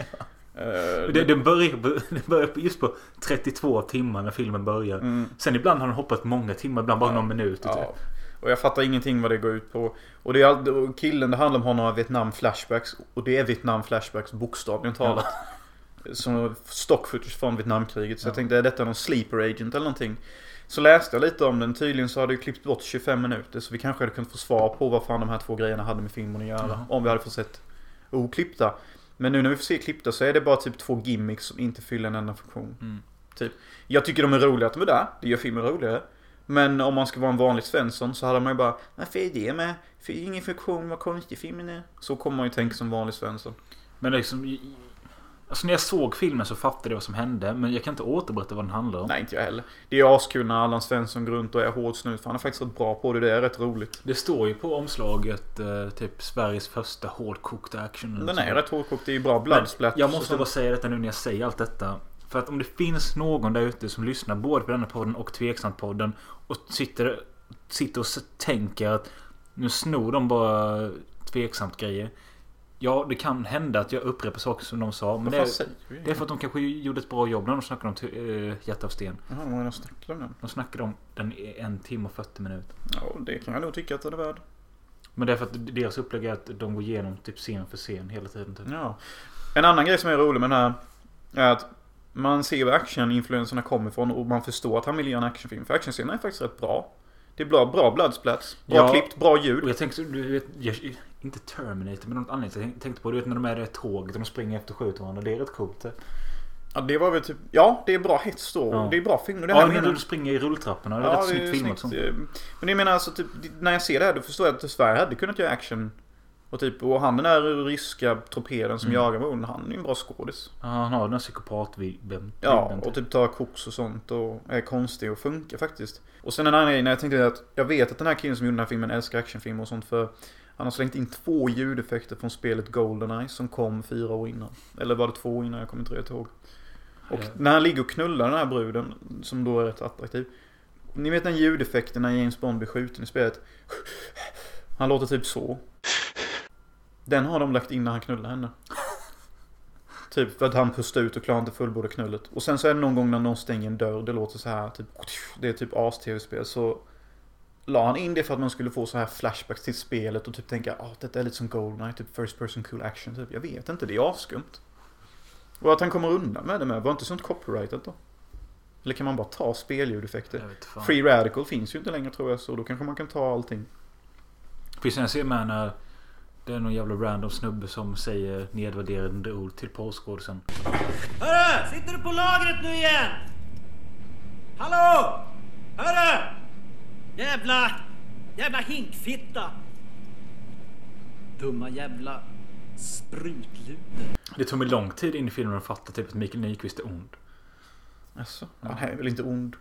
Speaker 1: Och Det, den, börjar, på- den börjar på- just på 32 timmar när filmen börjar.
Speaker 2: Mm.
Speaker 1: Sen ibland har den hoppat många timmar, ibland bara någon minut. och typ.
Speaker 2: Ja. Och jag fattar ingenting vad det går ut på. Och det är all, och killen, det handlar om har några Vietnam flashbacks. Och det är Vietnam flashbacks bokstavligen talat. Som stock footage från Vietnamkriget. Så jag tänkte, är detta någon sleeper agent eller någonting? Så läste jag lite om den. Tydligen så hade ju klippt bort 25 minuter. Så vi kanske hade kunnat få svar på vad fan de här två grejerna hade med filmen att göra.
Speaker 1: Jaha.
Speaker 2: Om vi hade fått sett oklippta. Men nu när vi får se klippta så är det bara typ två gimmicks som inte fyller en enda funktion.
Speaker 1: Mm.
Speaker 2: Typ. Jag tycker de är roliga att de är där. Det gör filmen roligare. Men om man ska vara en vanlig Svensson så hade man ju bara Varför är det med? För det är ingen funktion, vad konstig filmen är. Så kommer man ju tänka som vanlig Svensson.
Speaker 1: Men liksom... i- i- Alltså när jag såg filmen så fattade jag vad som hände. Men jag kan inte återberätta vad den handlar om.
Speaker 2: Nej, inte jag heller. Det är askul när Allan Svensson går runt och är hård snut. för Han är faktiskt rätt bra på det. Det är rätt roligt.
Speaker 1: Det står ju på omslaget eh, typ Sveriges första hårdkokta action. eller
Speaker 2: Den
Speaker 1: något
Speaker 2: är
Speaker 1: sånt.
Speaker 2: rätt hårdkokt. Det är ju bra bloodsplatt.
Speaker 1: Mm. Men Jag måste
Speaker 2: Så sen-
Speaker 1: bara säga detta nu när jag säger allt detta. För att om det finns någon där ute som lyssnar både på denna podden och Tveksamt-podden och sitter, sitter och s- tänker att nu snor de bara Tveksamt-grejer. Ja, det kan hända att jag upprepar saker som de sa. Men
Speaker 2: Vad
Speaker 1: det
Speaker 2: fan säger du
Speaker 1: är,
Speaker 2: egentligen?
Speaker 1: det är för att de kanske gjorde ett bra jobb när de snackade om t- eh, Hjärta av sten.
Speaker 2: Jaha, vad har de snackat om den?
Speaker 1: De snackade om den i en timme och 40 minuter.
Speaker 2: Ja, det kan jag nog tycka att den är värd.
Speaker 1: Men det är för att deras upplägg är att de går igenom typ scen för scen hela tiden. Typ.
Speaker 2: Ja. En annan grej som är rolig med den här är att man ser var action-influenserna kommer ifrån och man förstår att han vill göra en actionfilm. För actionscenerna är faktiskt rätt bra. Det är bra, bra bloodsplats, bra klippt, bra ljud.
Speaker 1: Och jag tänkte, så- du vet, jag, inte Terminator men något annat jag tänkte på. Du vet när de är i det här tåget och de springer efter och skjuter varandra. Det är rätt coolt. det.
Speaker 2: Ja, det var väl typ... Ja, det är bra hets då.
Speaker 1: Ja.
Speaker 2: Det är bra film. och Det
Speaker 1: Ja,
Speaker 2: här
Speaker 1: när
Speaker 2: menar-
Speaker 1: du springer i rulltrapporna. Det är rätt
Speaker 2: det är
Speaker 1: snyggt filmat. sånt.
Speaker 2: eh, Men jag menar alltså, typ, det- när jag ser det här då förstår jag att Sverige hade kunnat göra action. Och, typ, och han den där ryska torpeden som
Speaker 1: Mm.
Speaker 2: jagar motorn, han är ju en bra skådis.
Speaker 1: Ja, han har den här psykopat-bilden.
Speaker 2: Ja, och typ tar koks och sånt och är konstig och funkar faktiskt. Och sen en annan grej, när jag tänkte att jag vet att den här killen som gjorde den här filmen älskar actionfilmer och sånt för han har slängt in två ljudeffekter från spelet Goldeneye som kom fyra år innan. Eller var det två år innan? Jag kommer inte riktigt ihåg. Och
Speaker 1: Ja.
Speaker 2: när han ligger och knullar den här bruden, som då är rätt attraktiv. Ni vet den ljudeffekten när James Bond blir skjuten i spelet. Han låter typ så. Den har de lagt in när han knullar henne. Typ för att han pustar ut och klarar inte fullborda knullet. Och sen så är det någon gång när någon stänger en dörr. Det låter så här. Typ, det är typ as-tv-spel. Så la han in det för att man skulle få så här flashbacks till spelet och typ tänka att detta är lite som Goldeneye. Typ first person cool action. Typ. Jag vet inte. Det är avskumt. Och att han kommer undan med det med. Var inte sånt copyrightat då? Eller kan man bara ta spelljudeffekter?
Speaker 1: fan.
Speaker 2: Free Radical finns ju inte längre tror jag. Så då kanske man kan ta allting.
Speaker 1: Precis, jag ser med när det är någon jävla random snubbe som säger nedvärderande ord till porrskådisen.
Speaker 6: Hörru! Sitter du på lagret nu igen? Hallå! Hörru! Jävla... Jävla hinkfitta! Dumma jävla sprutluder.
Speaker 1: Det tog mig lång tid in i filmen att fatta typ att Mikael Nyqvist är ond.
Speaker 2: Alltså, han är väl inte ond?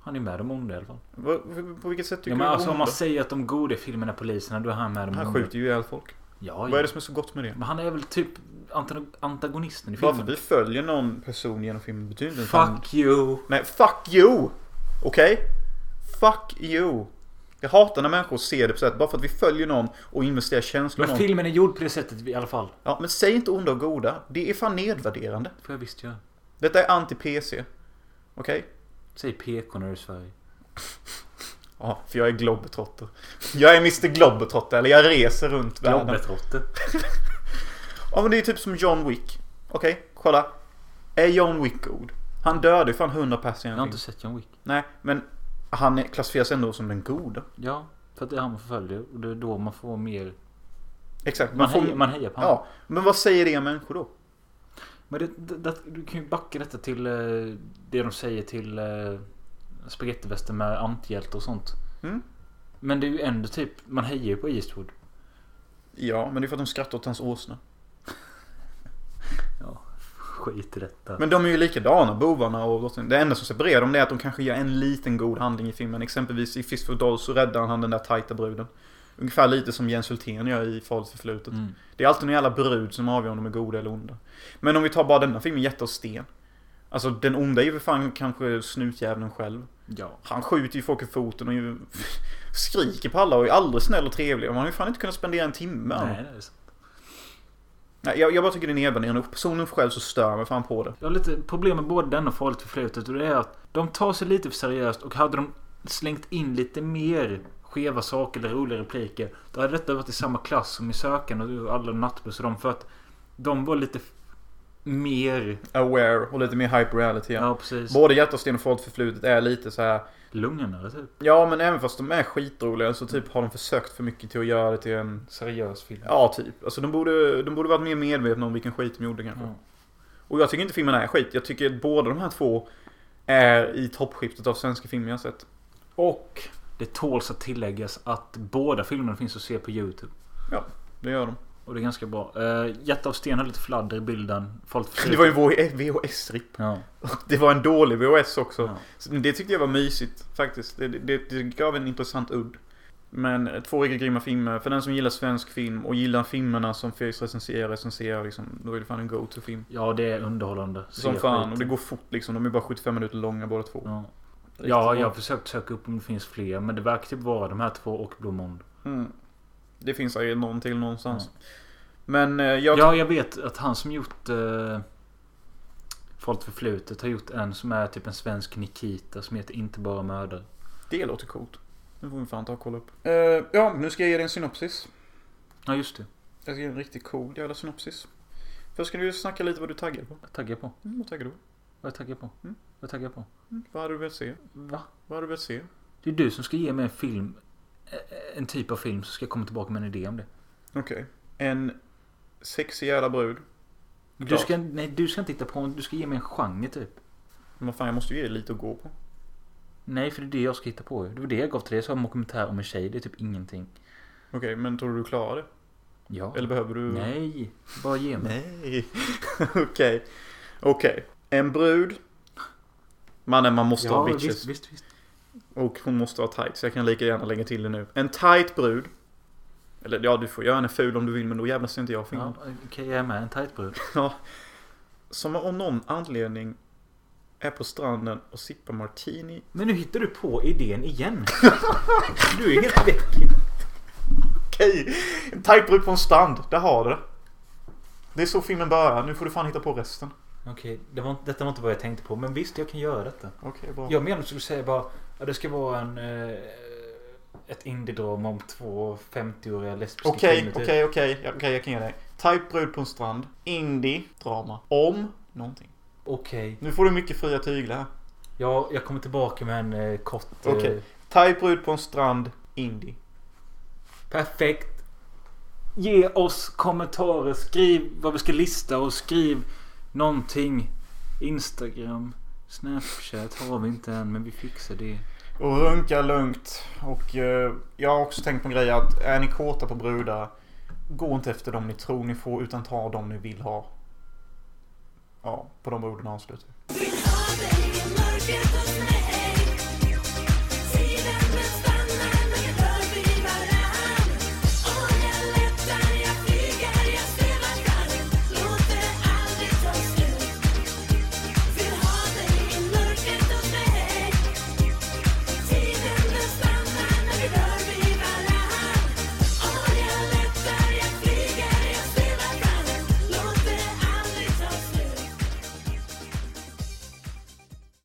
Speaker 1: Han är med de onda i alla fall.
Speaker 2: Vad- På vilket sätt tycker
Speaker 1: Ja,
Speaker 2: du
Speaker 1: men
Speaker 2: det är
Speaker 1: alltså, om
Speaker 2: ond
Speaker 1: man
Speaker 2: då?
Speaker 1: säger att de goda i filmen är poliserna, då är han med de
Speaker 2: Han
Speaker 1: onda.
Speaker 2: skjuter ju ihjäl folk.
Speaker 1: Ja,
Speaker 2: Vad
Speaker 1: ja.
Speaker 2: är det som är så gott med det?
Speaker 1: Men han är väl typ antagon- antagonisten i
Speaker 2: Bara för
Speaker 1: filmen.
Speaker 2: att vi följer någon person genom filmen betyder inte att han-
Speaker 1: Fuck you!
Speaker 2: Nej, fuck you! Okej? Fuck you! Jag hatar när människor ser det på sätt bara för att vi följer någon och investerar känslor i
Speaker 1: Men
Speaker 2: någon.
Speaker 1: filmen är gjord på det sättet i alla fall.
Speaker 2: Ja, men säg inte onda och goda. Det är fan nedvärderande.
Speaker 1: För jag visst gör.
Speaker 2: Detta är anti-PC. Okej?
Speaker 1: Säg PK när du är i Sverige.
Speaker 2: Ja, för jag är globetrotter. Jag är Mr Globetrotter, eller jag reser runt världen.
Speaker 1: Globetrotter.
Speaker 2: ja, men det är typ som John Wick. Okej, kolla. Är John Wick god? Han dödade ju fan 100 pers i en
Speaker 1: Jag har
Speaker 2: film.
Speaker 1: inte sett John Wick.
Speaker 2: Nej, men han är- klassificeras ändå som den goda.
Speaker 1: Ja, för att det är han man förföljer. Och det är då man får mer...
Speaker 2: Exakt.
Speaker 1: Man hejar- man hejar på honom.
Speaker 2: Ja, men vad säger det om människor då?
Speaker 1: Men det, det, det, du kan ju backa detta till eh, det de säger till eh, spagettivästen med antihjälte och sånt.
Speaker 2: Mm.
Speaker 1: Men det är ju ändå typ, man hejar ju på Eastwood.
Speaker 2: Ja, men det är för att de skrattar åt hans åsna.
Speaker 1: Ja, skit i detta.
Speaker 2: Men de är ju likadana, bovarna och brottslingen. Det enda som separerar dem det är att de kanske gör en liten god handling i filmen. Exempelvis i Fist for Dolls så räddar han den där tajta bruden. Ungefär lite som Jens Hultén gör i Farligt förflutet.
Speaker 1: Mm.
Speaker 2: Det är alltid en jävla brud som avgör om de är goda eller onda. Men om vi tar bara denna filmen, Jätte och sten. Alltså den onda är ju för fan kanske snutjäveln själv.
Speaker 1: Ja.
Speaker 2: Han skjuter ju folk i foten och ju skriker på alla och är aldrig snäll och trevlig. Man har ju fan inte kunnat spendera en timme med honom.
Speaker 1: Nej, det är sant.
Speaker 2: Nej, jag, jag bara tycker det är nedvärderande. Och personen själv så stör jag mig fan på det.
Speaker 1: Jag har lite problem med både den och Farligt förflutet och det är att de tar sig lite för seriöst och hade de slängt in lite mer skeva saker eller roliga repliker då hade detta varit i samma klass som i Sökande och alla nattbuss och de för att de var lite f- mer...
Speaker 2: Aware och lite mer hype reality.
Speaker 1: Ja, precis.
Speaker 2: Både Hjärtasten och Farligt förflutet är lite så här.
Speaker 1: Lugnare typ.
Speaker 2: Ja, men även fast de är skitroliga så typ har de försökt för mycket till att göra det till en...
Speaker 1: Seriös film.
Speaker 2: Ja, typ. Alltså de borde, de borde varit mer medvetna om vilken skit de gjorde kanske.
Speaker 1: Ja.
Speaker 2: Och jag tycker inte filmen är skit. Jag tycker att båda de här två är i toppskiktet av svenska filmer jag har sett.
Speaker 1: Och det tåls att tilläggas att båda filmerna finns att se på YouTube.
Speaker 2: Ja, det gör de.
Speaker 1: Och det är ganska bra. Uh, Hjärta av sten har lite fladder i bilden. Folk
Speaker 2: Det var ju vår VHS-ripp.
Speaker 1: Ja.
Speaker 2: Det var en dålig VHS också. Så Det tyckte jag var mysigt faktiskt. Det, det, det gav en intressant udd. Men eh, två riktigt grymma filmer. För den som gillar svensk film och gillar filmerna som Felix recenserar, recenserar liksom, då är det fan en go-to-film.
Speaker 1: Ja, det är underhållande. Se
Speaker 2: Som fan.
Speaker 1: skiten.
Speaker 2: Och det går fort liksom. De är bara 75 minuter långa båda två.
Speaker 1: Ja.
Speaker 2: Riktigt
Speaker 1: Ja,
Speaker 2: bra.
Speaker 1: jag har försökt söka upp om det finns fler. Men det verkar typ vara de här två och Blomond.
Speaker 2: Mm. Det finns säkert någon till någonstans. Men eh, jag...
Speaker 1: Ja, jag vet att han som gjort... Uh, Folk förflutet har gjort en som är typ en svensk Nikita som heter Inte bara mördare.
Speaker 2: Det låter coolt. Nu får vi fan ta och kolla upp. Eh, ja, nu ska jag ge dig en synopsis.
Speaker 1: Ja, just det.
Speaker 2: Jag ska ge en riktigt cool jävla synopsis. Först ska du snacka lite vad du taggar på.
Speaker 1: Vad taggar jag på?
Speaker 2: Mm, vad taggar du på?
Speaker 1: Vad taggar jag på?
Speaker 2: Mm.
Speaker 1: Vad taggar jag på?
Speaker 2: Mm, vad hade du velat se?
Speaker 1: Va?
Speaker 2: Vad hade du velat se?
Speaker 1: Det är du som ska ge mig en film. eh, En typ av film. Så ska jag komma tillbaka med en idé om det.
Speaker 2: Okej. En sexig jävla brud.
Speaker 1: Du ska, nej, du ska inte titta på Du ska ge mig en genre typ.
Speaker 2: Men vad fan, jag måste ju ge dig lite att gå på.
Speaker 1: Nej, för det är det jag ska hitta på. ju. Det var det jag gav till dig. Jag sa en dokumentär om en tjej. Det är typ ingenting.
Speaker 2: Okej, men tror du du klarar det?
Speaker 1: Ja.
Speaker 2: Eller behöver du...
Speaker 1: Nej, bara ge mig.
Speaker 2: Nej. Okej. Okej. En brud. Mannen, man måste
Speaker 1: Ja,
Speaker 2: ha bitches.
Speaker 1: visst, visst,
Speaker 2: Och hon måste ha tights. Jag kan lika gärna lägga till det nu. En tight brud. Eller ja, du får göra henne ful om du vill, men då jävlas inte jag för
Speaker 1: Ja,
Speaker 2: ja.
Speaker 1: Okej, jag är med. En tight brud.
Speaker 2: ja. Som av någon anledning är på stranden och sippar martini.
Speaker 1: Men nu hittar du på idén igen. Du är helt väck.
Speaker 2: Okej, en tight brud på en strand. Där har du det. Det är så filmen börjar. Nu får du fan hitta på resten.
Speaker 1: Okej, det var, inte- detta var inte vad jag tänkte på. Men visst, jag kan göra detta.
Speaker 2: Okej, bra.
Speaker 1: Jag menar att du skulle säga bara att det ska vara en... Eh, ett indiedrama om två 50-åriga lesbiska
Speaker 2: Okej,
Speaker 1: kvinnor, typ.
Speaker 2: okej, okej. Ja, Okej, jag kan ge dig. Type brud på en strand. Indie. Drama. Om någonting.
Speaker 1: Okej.
Speaker 2: Nu får du mycket fria tyglar här.
Speaker 1: Ja, jag kommer tillbaka med en eh, kort... eh,
Speaker 2: Okej. Type brud på en strand. Indie.
Speaker 1: Perfekt. Ge oss kommentarer. Skriv vad vi ska lista och skriv någonting. Instagram, Snapchat har vi inte än men vi fixar det.
Speaker 2: Och runka lugnt. Och eh, jag har också tänkt på en grej att är ni kåta på brudar. Gå inte efter dem ni tror ni får utan ta dem ni vill ha. Ja, på de orden avslutar vi.
Speaker 6: Mörkret och snö